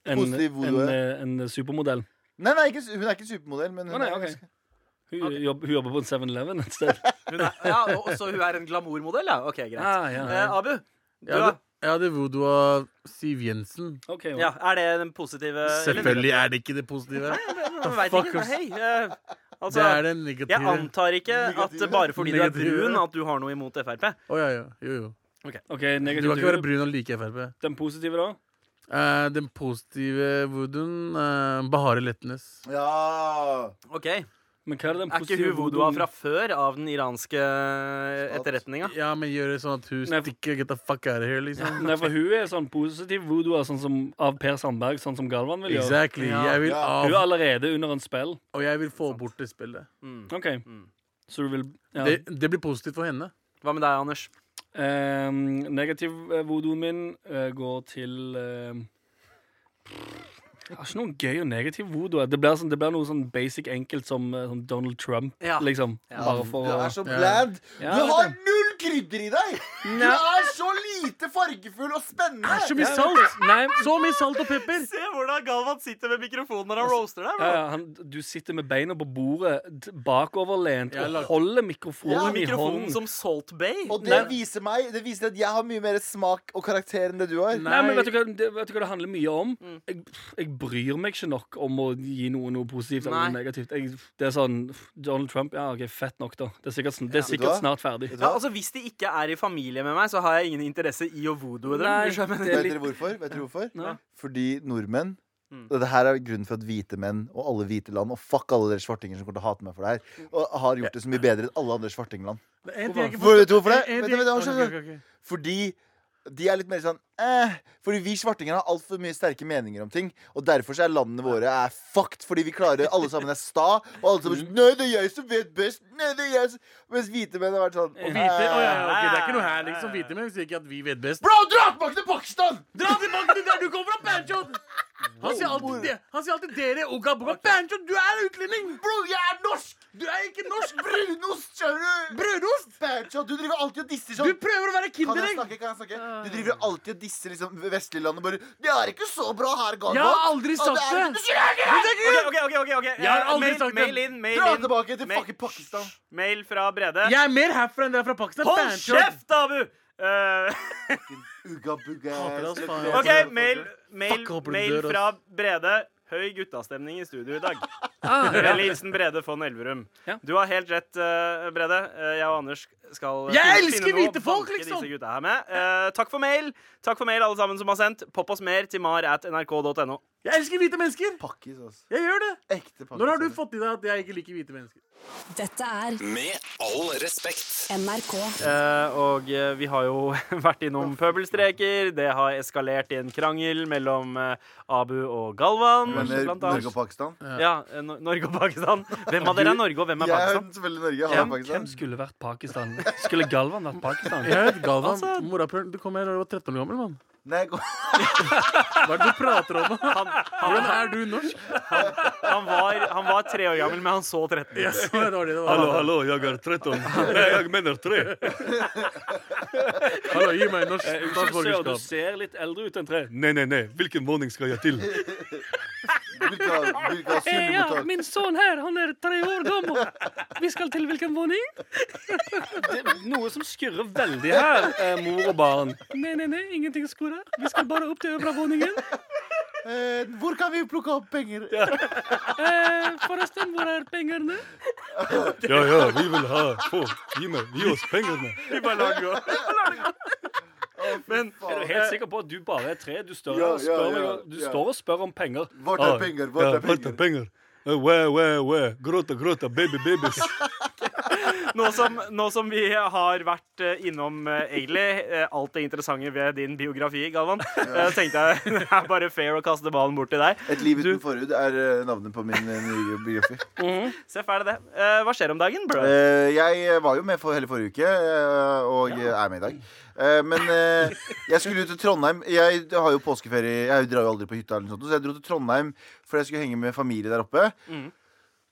S5: en,
S2: Positiv
S5: en,
S2: voodoo, ja.
S5: eh, en supermodell.
S2: Nei, nei, ikke, su- hun er ikke supermodell, men hun
S5: Å, nei,
S2: er
S5: ok.
S2: ganske-
S5: Hun, jobb, hun jobber på en 7-Eleven et sted.
S1: Hun er, ja, og og så hun er en glamourmodell, ja? OK, greit.
S5: Ah, ja.
S1: Eh, Abu, du
S6: Ja,
S1: da?
S6: Jeg hadde voodoo av Siv Jensen.
S5: Ok, jo.
S1: Ja, Er det den positive
S6: Selvfølgelig er det ikke det positive.
S1: Jeg vet
S6: Fuck
S1: ikke.
S6: us.
S1: Hei, eh, altså,
S6: Det er det negative.
S1: jeg antar ikke at
S2: Negative.
S1: bare fordi du er
S6: Negative.
S1: brun, at du har noe imot Frp.
S6: Å, ja, ja. Jo, jo.
S5: Ok,
S6: Du kan
S5: negativ
S6: ikke
S5: tur.
S6: være brun og like Frp.
S5: Den positive, da?
S6: Eh, den positive voodooen eh, Bahare Letnes.
S2: Ja!
S1: Ok, Er
S5: Men hva er det den
S1: ikke
S5: positive
S1: hun voodooa
S5: voodooen-
S1: fra før av den iranske eh, etterretninga?
S6: Ja, men gjør det sånn at hun
S5: Nei, for-
S6: stikker. Get the fuck out of here, liksom.
S5: Nei, for hun er sånn positiv voodoo sånn som av Per Sandberg, sånn som Galvan vil gjøre.
S6: Exactly. Jeg vil
S2: Ja.
S5: Hun
S6: av,
S5: er allerede under en spill.
S6: og jeg vil få bort det spillet.
S5: OK. Så du vil ja.
S6: Det, det blir positivt for henne.
S1: Hva med deg, Anders?
S5: Eh, Negativ eh, voodooen min eh, går til eh, Jeg har ikke noen gøy og negativ voodoo. Det blir, sånn, det blir noe sånn basic enkelt som eh, sånn Donald Trump,
S1: Ja.
S5: liksom. Bare
S2: Du
S5: for å
S2: er så bland.
S5: Ja,
S2: Du
S5: vet
S2: har
S5: det.
S2: null krydder i deg! Du er så lite fargefull og spennende!
S6: mye salt! Nei, så mye salt og pepper!
S1: Se hvordan Galvan sitter ved mikrofonen når han roaster deg.
S5: ja, ja, han, du sitter med beina på bordet, d- bakoverlent,
S6: Jeg
S5: og
S6: lag-
S5: holder
S2: Ja,
S5: mikrofonen i
S1: Mikrofonen
S5: hånden.
S1: som Salt Bay.
S2: Og det viser meg Det viser at jeg har mye mer smak og karakter enn det du har.
S5: Nei, Mm. men vet du, hva, det, vet du hva det handler mye om? Jeg, pff, jeg bryr meg ikke nok om å gi noe noe positivt eller noe
S1: Nei.
S5: negativt. Jeg, det er sånn pff, Donald Trump Ja, OK, fett nok, da. Det er sikkert, sn- det er
S2: Ja. Vet du
S5: sikkert
S2: hva?
S5: snart ferdig.
S2: Vet du
S1: Ja,
S2: hva?
S1: altså Hvis de ikke er i familie med meg, så har jeg ingen interesse i å voodooe dem.
S5: Nei,
S1: hvis du skjønner
S2: Vet
S5: det er
S1: hva jeg mener.
S5: litt-
S2: dere hvorfor? Vet dere hvorfor?
S5: Nei.
S2: Fordi nordmenn
S1: Mm.
S2: og det her er grunnen for at hvite menn og alle hvite land og fuck alle dere svartinger som kommer til å hate meg for det
S6: Mm.
S2: her, og har gjort det så mye bedre enn alle andre svartingland. Hvorfor- vet du hvorfor det? Vet du- vet du- vet du- Fordi de er litt mer sånn eh, Fordi vi svartinger har altfor mye sterke meninger om ting. Og derfor så er landene våre er fucked, fordi vi klarer alle sammen er sta. Og alle sammen er
S6: Mm.
S2: sånn, Nei, det er jeg som vet best. Nei, det er jeg som Mens hvite menn har vært sånn
S6: Hvite, å, ja, ok, det er ikke noe her, liksom. Hvite menn sier ikke at vi vet best.
S2: Bro, dra tilbake til Pakistan!
S6: Dra tilbake til der du kommer fra, Panchon! Han sier alltid, det. han sier alltid 'dere' og Gabuga. Panchon, du er utlending!
S2: Bro, jeg er norsk!
S6: Du er ikke norsk!
S2: Brunost, skjønner du?
S6: Brødost!
S2: Berntjov, du driver alltid og disser
S6: Du
S2: sånn.
S6: prøver å være
S2: Kan jeg
S6: kinderegg!
S2: snakke? kan jeg snakke? Du driver alltid og disser liksom vestlige land og bare Det er ikke så bra her, Galvan.
S6: Jeg har aldri
S2: Og det
S6: sagt
S2: er-
S6: det!
S2: Du sier det ikke!
S1: Ok, ok, ok, ok, ok.
S6: Jeg har
S1: Eh,
S6: aldri
S1: mail,
S6: sagt det.
S1: mail inn, mail
S2: Dra
S1: inn.
S2: tilbake til
S1: Men-
S2: fucking Pakistan.
S1: Mail fra Brede.
S6: Jeg er mer herfra enn dere er fra Pakistan.
S1: Hold
S6: Panchon.
S1: kjeft, Abu! Eh,
S2: Ugga bugga
S6: Hater oss, faen.
S1: OK, mail, mail,
S6: Fuck, håper du
S1: mail
S6: dør, ass.
S1: fra Brede. Høy guttastemning i studio i dag. Vennlig hilsen Brede von Elverum.
S5: Ja.
S1: Du har helt rett, eh, Brede. Eh, Jeg og Anders skal eh,
S6: Jeg
S1: finne-
S6: elsker
S1: finne noe å
S6: hvite folk,
S1: banke
S6: liksom!
S1: Disse gutta her med. Eh, takk for mail, Takk for mail alle sammen som har sendt. Popp oss mer til mar at nrk.no.
S6: Jeg elsker hvite mennesker!
S2: Pakkis, altså.
S6: Jeg gjør det!
S2: Ekte pakkis.
S6: Når har du fått i deg at jeg ikke liker hvite mennesker?
S7: Dette er
S8: Med all respekt.
S7: NRK.
S1: Eh, og eh, vi har jo vært innom pøbelstreker. Det har eskalert i en krangel mellom eh, Abu og Galvan.
S2: Mener
S1: blant annet.
S2: Norge og Pakistan?
S1: Ja, eh, Nor- Norge og Pakistan. Hvem av dere er Norge, og hvem er
S2: Jeg er
S1: Pakistan?
S2: selvfølgelig Norge. Han er
S5: Hvem,
S2: Pakistan.
S5: hvem skulle vært Pakistan? Skulle Galvan vært Pakistan?
S6: Jeg vet, Galvan,
S1: Altså-
S6: morapulen, du kom her da du var 13 år gammel, mann.
S2: Nei, kom-
S6: Hva er det du prater om? Hvordan er du norsk?
S1: Han var, han var tre år gammel, men han så 13 ut.
S6: Ja, så det var det det var.
S5: hallo, jeg er 13. Nei, jeg mener 3.
S6: Hallo, gi meg norsk
S5: Unnskyld, du
S6: statsborgerskap.
S5: ser litt eldre ut enn 3. Nei, nei, nei. Hvilken våning skal jeg til?
S2: Hvilke hvilke
S5: Ja,
S2: asylmottak?
S5: min sønn her, han er tre år gammel. Vi skal til hvilken våning? Det er noe som skurrer veldig her, eh, mor og barn. Nei, nei, nei, ingenting skurrer. Vi skal bare opp til øvre våningen.
S2: Eh, Hvor kan vi plukke opp penger?
S5: Eh, forresten, hvor er pengene? Ja, ja, vi vil ha. Få, gi meg, gi oss pengene.
S1: Vi bare lar det gå.
S2: Men
S5: Er du helt sikker på at du bare er tre? Du, står,
S2: Ja,
S5: og spør,
S2: ja, ja,
S5: meg- du
S2: ja.
S5: står og spør om penger.
S2: Vårt er penger, vårt er penger.
S5: Where, where, where? Gråta, gråta, baby, babies.
S1: Nå som, nå som vi har vært eh, innom eh, egentlig eh, alt det interessante ved din biografi, Galvan, eh, tenkte jeg det er bare fair å kaste ballen bort til deg.
S2: Et liv uten forhud er eh, navnet på min eh, nye biografi.
S1: Seff, er det det. Eh, Hva skjer om dagen, bro?
S2: Eh, jeg var jo med for hele forrige uke, eh, og er med i dag. Eh, men eh, jeg skulle jo til Trondheim. Jeg har jo påskeferie. Jeg drar jo aldri på hytta, eller noe sånt, så jeg dro til Trondheim fordi jeg skulle henge med familie der oppe.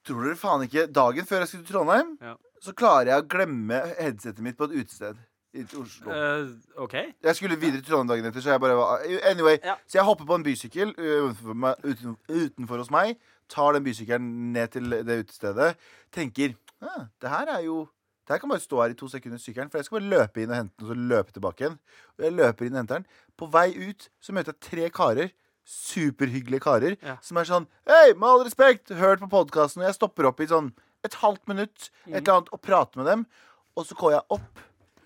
S2: Tror dere faen ikke Dagen før jeg skulle til Trondheim,
S1: Mm. Ja.
S2: så klarer jeg å glemme headsetet mitt på et utested i Oslo.
S1: Eh, OK.
S2: Jeg skulle videre til Trondheim dagen etter, så jeg bare var Anyway,
S1: Ja.
S2: så jeg hopper på en bysykkel ø, utenfor, meg, uten, utenfor hos meg. Tar den bysykkelen ned til det utestedet. Tenker ah, det her er jo Det her kan bare stå her i to sekunder, sykkelen, for jeg skal bare løpe inn og hente den, og så løpe tilbake igjen. Og jeg løper inn og henter den. På vei ut så møter jeg tre karer. Superhyggelige karer
S1: Ja.
S2: som er sånn Hei, med all respekt, hørt på podkasten, og jeg stopper opp i sånn et halvt minutt et
S1: Mm.
S2: eller annet, og prater med dem. Og så går jeg opp,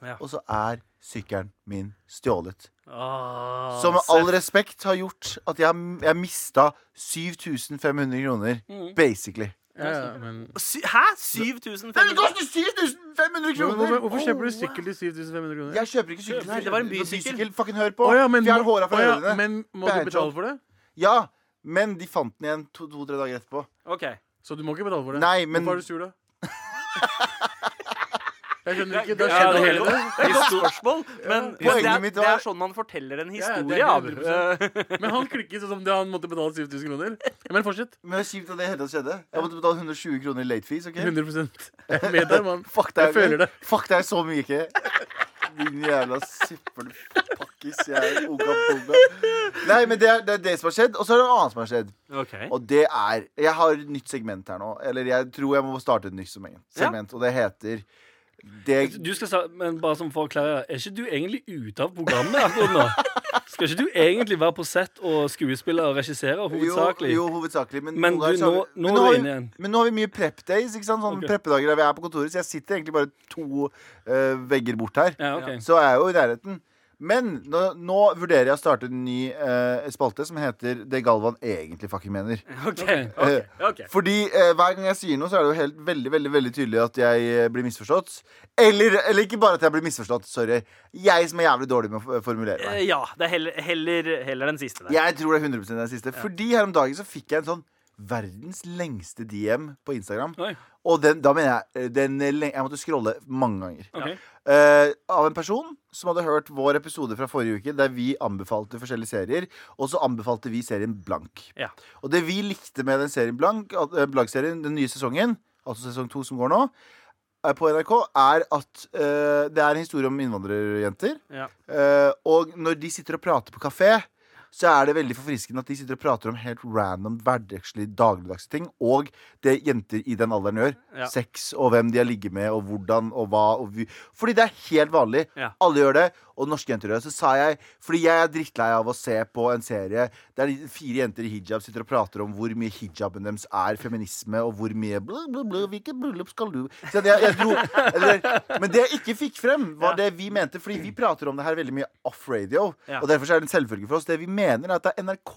S1: Ja.
S2: og så er sykkelen min stjålet.
S1: Ah,
S2: Som med
S1: se-
S2: all respekt har gjort at jeg, jeg mista 7500 kroner,
S1: Mm.
S2: basically.
S6: Ja, ja, men
S1: Sy- Hæ? 7500?
S2: koster 7500
S6: Hvorfor, hvorfor, hvorfor kjøper du sykkel til 7500 kroner?
S2: Jeg kjøper ikke sykkel.
S1: Nei, det var en bysykkel.
S2: Fucking hør på.
S6: Å ja, men,
S2: Fjern håra fra
S6: å ja,
S2: ørene.
S6: men må
S2: Det er
S6: du
S2: en
S6: betale
S2: jobb.
S6: for det?
S2: Ja, men de fant den igjen to- to-tre dager etterpå.
S1: OK.
S6: Så du må ikke betale for det?
S2: Nei, men-
S6: Hvorfor er du sur, da? jeg skjønner ikke. Det har
S1: Ja,
S6: skjedd
S1: det, er
S6: hele
S1: godt- det er et godt spørsmål, men, men det,
S2: Poenget
S1: er,
S2: mitt
S1: det
S2: var-
S1: er sånn man forteller en
S6: Ja,
S1: historie,
S6: det er
S1: Abu.
S6: 100%. Men han klikket sånn som det han måtte betale 7000 kroner. Men fortsett.
S2: Men det er kjipt at det hele tatt skjedde. Jeg måtte betale 120 kroner i late fees. ok?
S6: 100 Jeg vet det, mann.
S2: Fuck deg.
S6: Jeg føler det.
S2: Fuck deg så mye, ikke? Din jævla søppelpakkis. Jeg er unga bonde. Nei, men det er, det er det som har skjedd. Og så er det noe annet som har skjedd.
S1: Ok.
S2: Og det er Jeg har et nytt segment her nå. Eller jeg tror jeg må starte et nytt segment. segment Og det heter det,
S5: Du skal sa, men bare som for å klare, Er ikke du egentlig ute av programmet akkurat nå? Skal ikke du egentlig være på sett og skuespille og regissere hovedsakelig?
S2: Jo, jo, hovedsakelig. Men,
S5: Men
S2: noen ganger
S5: du,
S2: så har
S5: nå-
S2: vi- men har vi-
S5: nå er du inne igjen.
S2: Men nå har vi mye prep days. ikke sant? Sånne
S5: Ok.
S2: preppedager der vi er på kontoret. Så jeg sitter egentlig bare to eh, vegger bort her.
S5: Ja, ok.
S2: Så er jeg jo i nærheten. Men nå, nå vurderer jeg å starte en ny eh, spalte som heter Det Galvan egentlig fucking mener.
S5: Ok.
S2: Eh, Fordi eh, hver gang jeg sier noe, så er det jo helt veldig veldig, veldig tydelig at jeg eh, blir misforstått. Eller, eller ikke bare at jeg blir misforstått. Sorry. Jeg som er jævlig dårlig med å f- formulere meg.
S1: Eh, Ja, det er heller, heller, heller den siste der.
S2: Jeg tror det er 100 den siste. Fordi her om dagen så fikk jeg en sånn verdens lengste DM på Instagram.
S5: Oi.
S2: Og den, da mener jeg eh, den, eh, le- Jeg måtte scrolle mange ganger.
S5: ok.
S2: Eh, av en person som hadde hørt vår episode fra forrige uke, der vi anbefalte forskjellige serier, og så anbefalte vi serien Blank.
S1: Ja.
S2: Og det vi likte med den serien Blank, at, eh, Blank-serien, den nye sesongen, altså sesong to som går nå, eh, på NRK, er at eh, det er en historie om innvandrerjenter.
S1: Ja.
S2: Eh, og når de sitter og prater på kafé, så er det veldig forfriskende at de sitter og prater om helt random, hverdagslige, dagligdagse ting. Og det jenter i den alderen gjør.
S1: Ja.
S2: Sex og hvem de har ligget med, og hvordan og hva. Og vi. Fordi det er helt vanlig.
S1: Ja.
S2: Alle gjør det. Og norske jenter gjør det. Så sa jeg Fordi jeg er drittlei av å se på en serie der de fire jenter i hijab sitter og prater om hvor mye hijaben deres er feminisme, og hvor mye bla, bla, bla, Hvilket bryllup skal du Så jeg, jeg dro, eller, Men det jeg ikke fikk frem, var det vi mente. Fordi vi prater om det her veldig mye off-radio.
S1: Ja.
S2: Og derfor så er det en selvfølge for oss. Det vi mener, er at det er NRK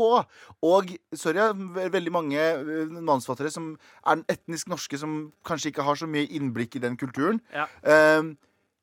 S2: og sorry, ja, ve- veldig mange eh, manusforfattere som er etnisk norske, som kanskje ikke har så mye innblikk i den kulturen,
S1: Ja.
S2: eh,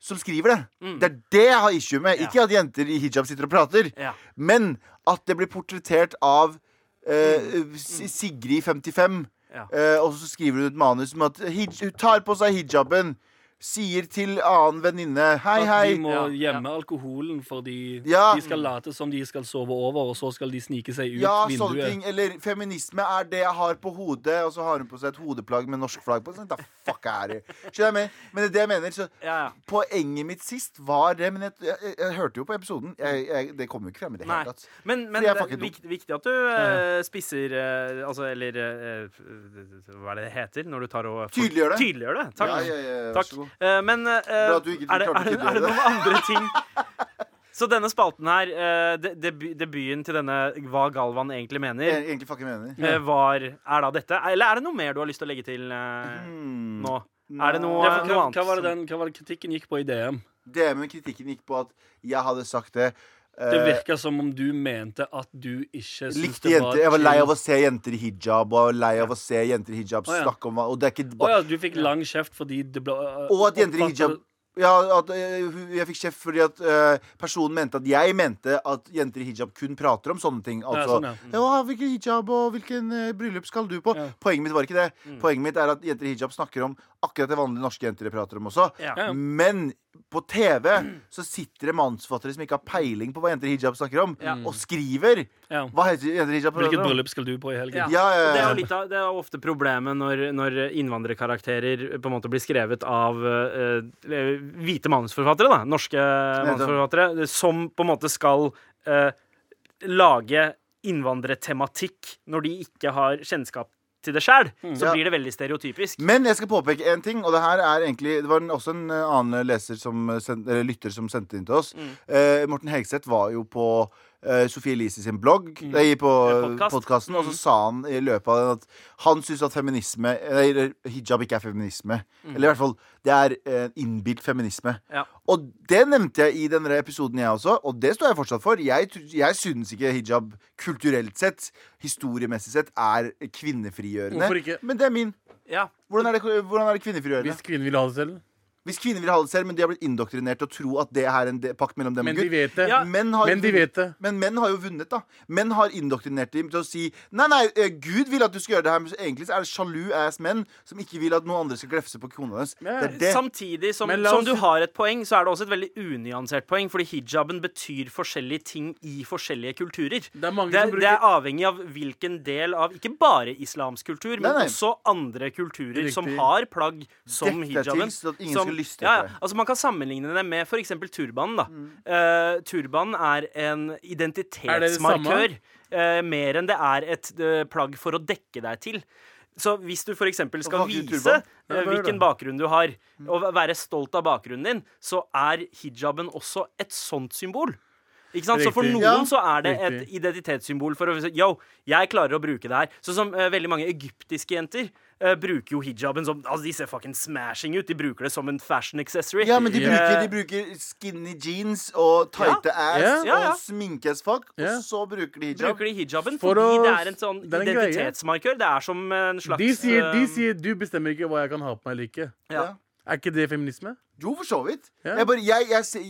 S2: som skriver det.
S5: Mm.
S2: Det er det jeg har issue med. Ikke at jenter i hijab sitter og prater,
S1: Ja.
S2: men at det blir portrettert av eh,
S5: Mm.
S2: S- Sigrid 55.
S1: Ja.
S2: eh, og så skriver hun et manus om at hij hun tar på seg hijaben. Sier til annen venninne Hei, hei.
S5: At de må
S1: Ja, ja.
S5: gjemme alkoholen fordi
S2: Ja.
S5: de skal late som de skal sove over, og så skal de snike seg ut
S2: Ja, sånne ting.
S5: vinduet.
S2: Eller feminisme er det jeg har på hodet, og så har hun på seg et hodeplagg med norsk flagg på. Sånn, da fuck er det? Skjønner jeg med? Men det er det jeg mener. Så
S1: Ja, ja.
S2: poenget mitt sist var det, men jeg, jeg, jeg, hørte jo på episoden. Jeg, jeg, det kom jo ikke frem i det
S1: Nei.
S2: hele tatt.
S1: Men,
S2: Fordi
S1: men det
S2: jeg
S1: er
S2: fucker
S1: vik- viktig at du eh, spisser eh, Altså, eller eh, Hva er det det heter når du tar og
S2: Tydeliggjør det.
S1: Tydeliggjør det. Takk.
S2: Ja, ja, ja, vær
S1: Takk.
S2: så god.
S1: Eh, men eh,
S2: Bra at du ikke
S1: er, det,
S2: klarte å
S1: er, det, er det
S2: tydeliggjøre
S1: noen andre ting Så denne spalten her, eh, de- deby- debuten til denne Hva Galvan egentlig mener,
S2: Jeg, egentlig fucking mener.
S1: eh, var Er da dette? Eller er det noe mer du har lyst til å legge til eh,
S2: Hmm.
S1: nå? Er det noe,
S5: Ja, for
S1: noe
S5: hva,
S1: annet?
S5: hva, var det
S1: som-
S5: den, hva var det kritikken gikk på i DM?
S2: Det med kritikken gikk på at jeg hadde sagt det.
S5: Det
S2: eh,
S5: virka som om du mente at du ikke syntes
S2: Likte jenter, jeg var lei av å se jenter i hijab, og jeg var lei av å se jenter i hijab
S5: Å, ja.
S2: snakke om hva- Og det er ikke
S5: Å
S2: bare
S5: ja, du fikk lang kjeft fordi det ble øh,
S2: Og at jenter i
S5: oppfattet-
S2: hijab ja, at eh, hun- jeg fikk kjeft fordi at eh, personen mente at jeg mente at jenter i hijab kun prater om sånne ting. Altså,
S5: sånn, ja. Mm.
S2: «Ja, hvilken hijab og hvilken eh, bryllup skal du på?
S5: Ja.
S2: Poenget mitt var ikke det.
S1: Mm.
S2: Poenget mitt er at jenter i hijab snakker om akkurat det vanlige norske jenter prater om også.
S1: Ja.
S5: Ja, ja.
S2: Men på TV så sitter det manusforfattere som ikke har peiling på hva jenter i hijab snakker om,
S1: Ja.
S2: og skriver
S5: Ja.
S2: hva heter jenter i hijab prater
S5: Hvilket
S2: om.
S5: bryllup skal du på i helgen?
S1: Ja.
S2: Ja, ja,
S1: Og Det er,
S2: ja.
S1: jo litt av, det er ofte problemet når, når innvandrerkarakterer på en måte blir skrevet av eh, eh, hvite manusforfattere, da, norske manusforfattere, som på en måte skal eh, lage innvandrertematikk når de ikke har kjennskap til det sjæl, så
S2: Mm. Ja.
S1: blir det veldig stereotypisk.
S2: Men jeg skal påpeke en ting, og det her er egentlig Det var en, også en eh, annen leser som eh, send, eller lytter som sendte inn til oss. Eh, Morten Hegseth var jo på eh, Sofie Elise sin blogg, nei, på
S1: Podcast.
S2: podkasten, og så sa han i løpet av den at han syns at feminisme Nei, eller hijab ikke er feminisme. Eller i hvert fall det er eh, innbilt feminisme.
S1: Ja.
S2: Og det nevnte jeg i denne episoden, jeg også, og det står jeg fortsatt for. Jeg, tr- jeg syns ikke hijab kulturelt sett, historiemessig sett, er kvinnefrigjørende.
S6: Hvorfor ikke?
S2: Men det er min.
S1: Ja.
S2: Hvordan er det, hvordan er det kvinnefrigjørende?
S6: Hvis kvinner vil ha det selv.
S2: Hvis kvinner vil ha det selv, men de har blitt indoktrinert til å tro at det er en de pakt mellom dem
S6: Men
S2: og
S6: de
S2: Gud.
S6: vet det.
S1: Ja.
S2: Menn har,
S6: Men de vet det.
S2: men menn har jo vunnet, da. Menn har indoktrinert dem til å si Nei, nei, eh, Gud vil at du skal gjøre det her, men så egentlig så er det sjalu ass menn som ikke vil at noen andre skal glefse på kona hennes. Det er det.
S1: Samtidig som,
S6: Men la
S1: som
S6: oss-
S1: du har et poeng, så er det også et veldig unyansert poeng, fordi hijaben betyr forskjellige ting i forskjellige kulturer.
S6: Det er mange
S1: Det er,
S6: som bruker
S1: det er avhengig av hvilken del av ikke bare islamsk kultur, men
S2: Nei, nei.
S1: også andre kulturer som
S6: Riktig.
S1: har plagg som
S2: Dekk deg til,
S1: hijaben.
S2: så at ingen
S1: som-
S2: skal lyste
S1: ja, ja.
S2: etter deg.
S1: Altså Man kan sammenligne det med f.eks. turbanen. da
S2: Mm.
S1: Eh, Turbanen er en identitetsmarkør eh, mer enn det er et eh, plagg for å dekke deg til. Så hvis du f.eks. skal
S2: Hvorfor har ikke du
S1: vise
S2: turban?
S1: eh, hvilken bakgrunn du har,
S2: Mm.
S1: og væ- være stolt av bakgrunnen din, så er hijaben også et sånt symbol. Ikke sant? Så for noen
S6: Riktig.
S2: Ja.
S1: så er det
S6: Riktig.
S1: et identitetssymbol for å si yo, jeg klarer å bruke det her. Sånn som eh, veldig mange egyptiske jenter eh, bruker jo hijaben som Altså, de ser fucking smashing ut. De bruker det som en fashion accessory.
S2: Ja, men de
S6: Ja.
S2: bruker, de bruker skinny jeans og tighte ass
S1: Ja, ja.
S2: og sminke as fuck,
S6: Ja.
S2: og så bruker de hijab.
S1: Bruker de hijaben
S6: For
S1: fordi
S6: å-
S1: det er en sånn
S6: det er en greie.
S1: identitetsmarkør. Det er som en slags
S6: De sier, de
S1: eh,
S6: sier 'du bestemmer ikke hva jeg kan ha på meg eller ikke'.
S1: ja.
S6: Er ikke det feminisme?
S2: Jo, for så vidt.
S6: Ja.
S2: Jeg bare, jeg, jeg, ser-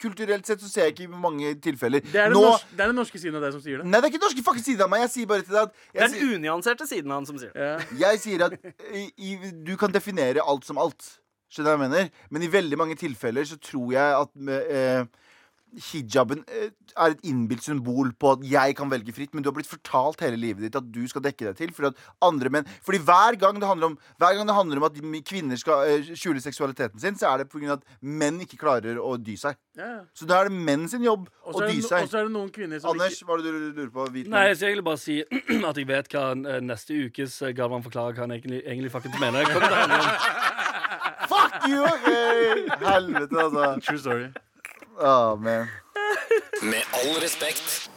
S2: kulturelt sett så ser jeg ikke mange tilfeller.
S6: Det er den,
S2: Nå,
S6: norske, det er den norske siden av deg som sier det.
S2: Nei, det er ikke den norske fucking siden av meg. Jeg sier bare til deg at
S1: Det
S2: jeg,
S1: er
S2: sier-
S1: den unyanserte siden av han som sier det.
S6: Ja.
S2: jeg sier at i, i, du kan definere alt som alt. Skjønner du hva jeg mener? Men i veldig mange tilfeller så tror jeg at eh, hijaben eh, er et innbilt symbol på at jeg kan velge fritt, men du har blitt fortalt hele livet ditt at du skal dekke deg til. Fordi, at andre menn, fordi hver, gang det handler om, hver gang det handler om at kvinner skal eh, skjule seksualiteten sin, så er det pga. at menn ikke klarer å dy seg.
S6: Ja.
S2: Så da er det menn sin jobb
S6: Og
S2: å
S6: så er,
S2: dy
S6: det no- og
S2: seg.
S6: så er det noen kvinner som
S2: Anders, hva er det du lurer på? Hvit
S5: Nei, så jeg vil bare si at jeg vet hva eh, neste ukes eh, Galvan forklarer hva han egentlig, egentlig faktisk mener. Hva det handler om?
S2: Fuck you! Okay. Helvete, altså.
S6: ikke True story.
S2: Oh, man.
S8: Med all respekt.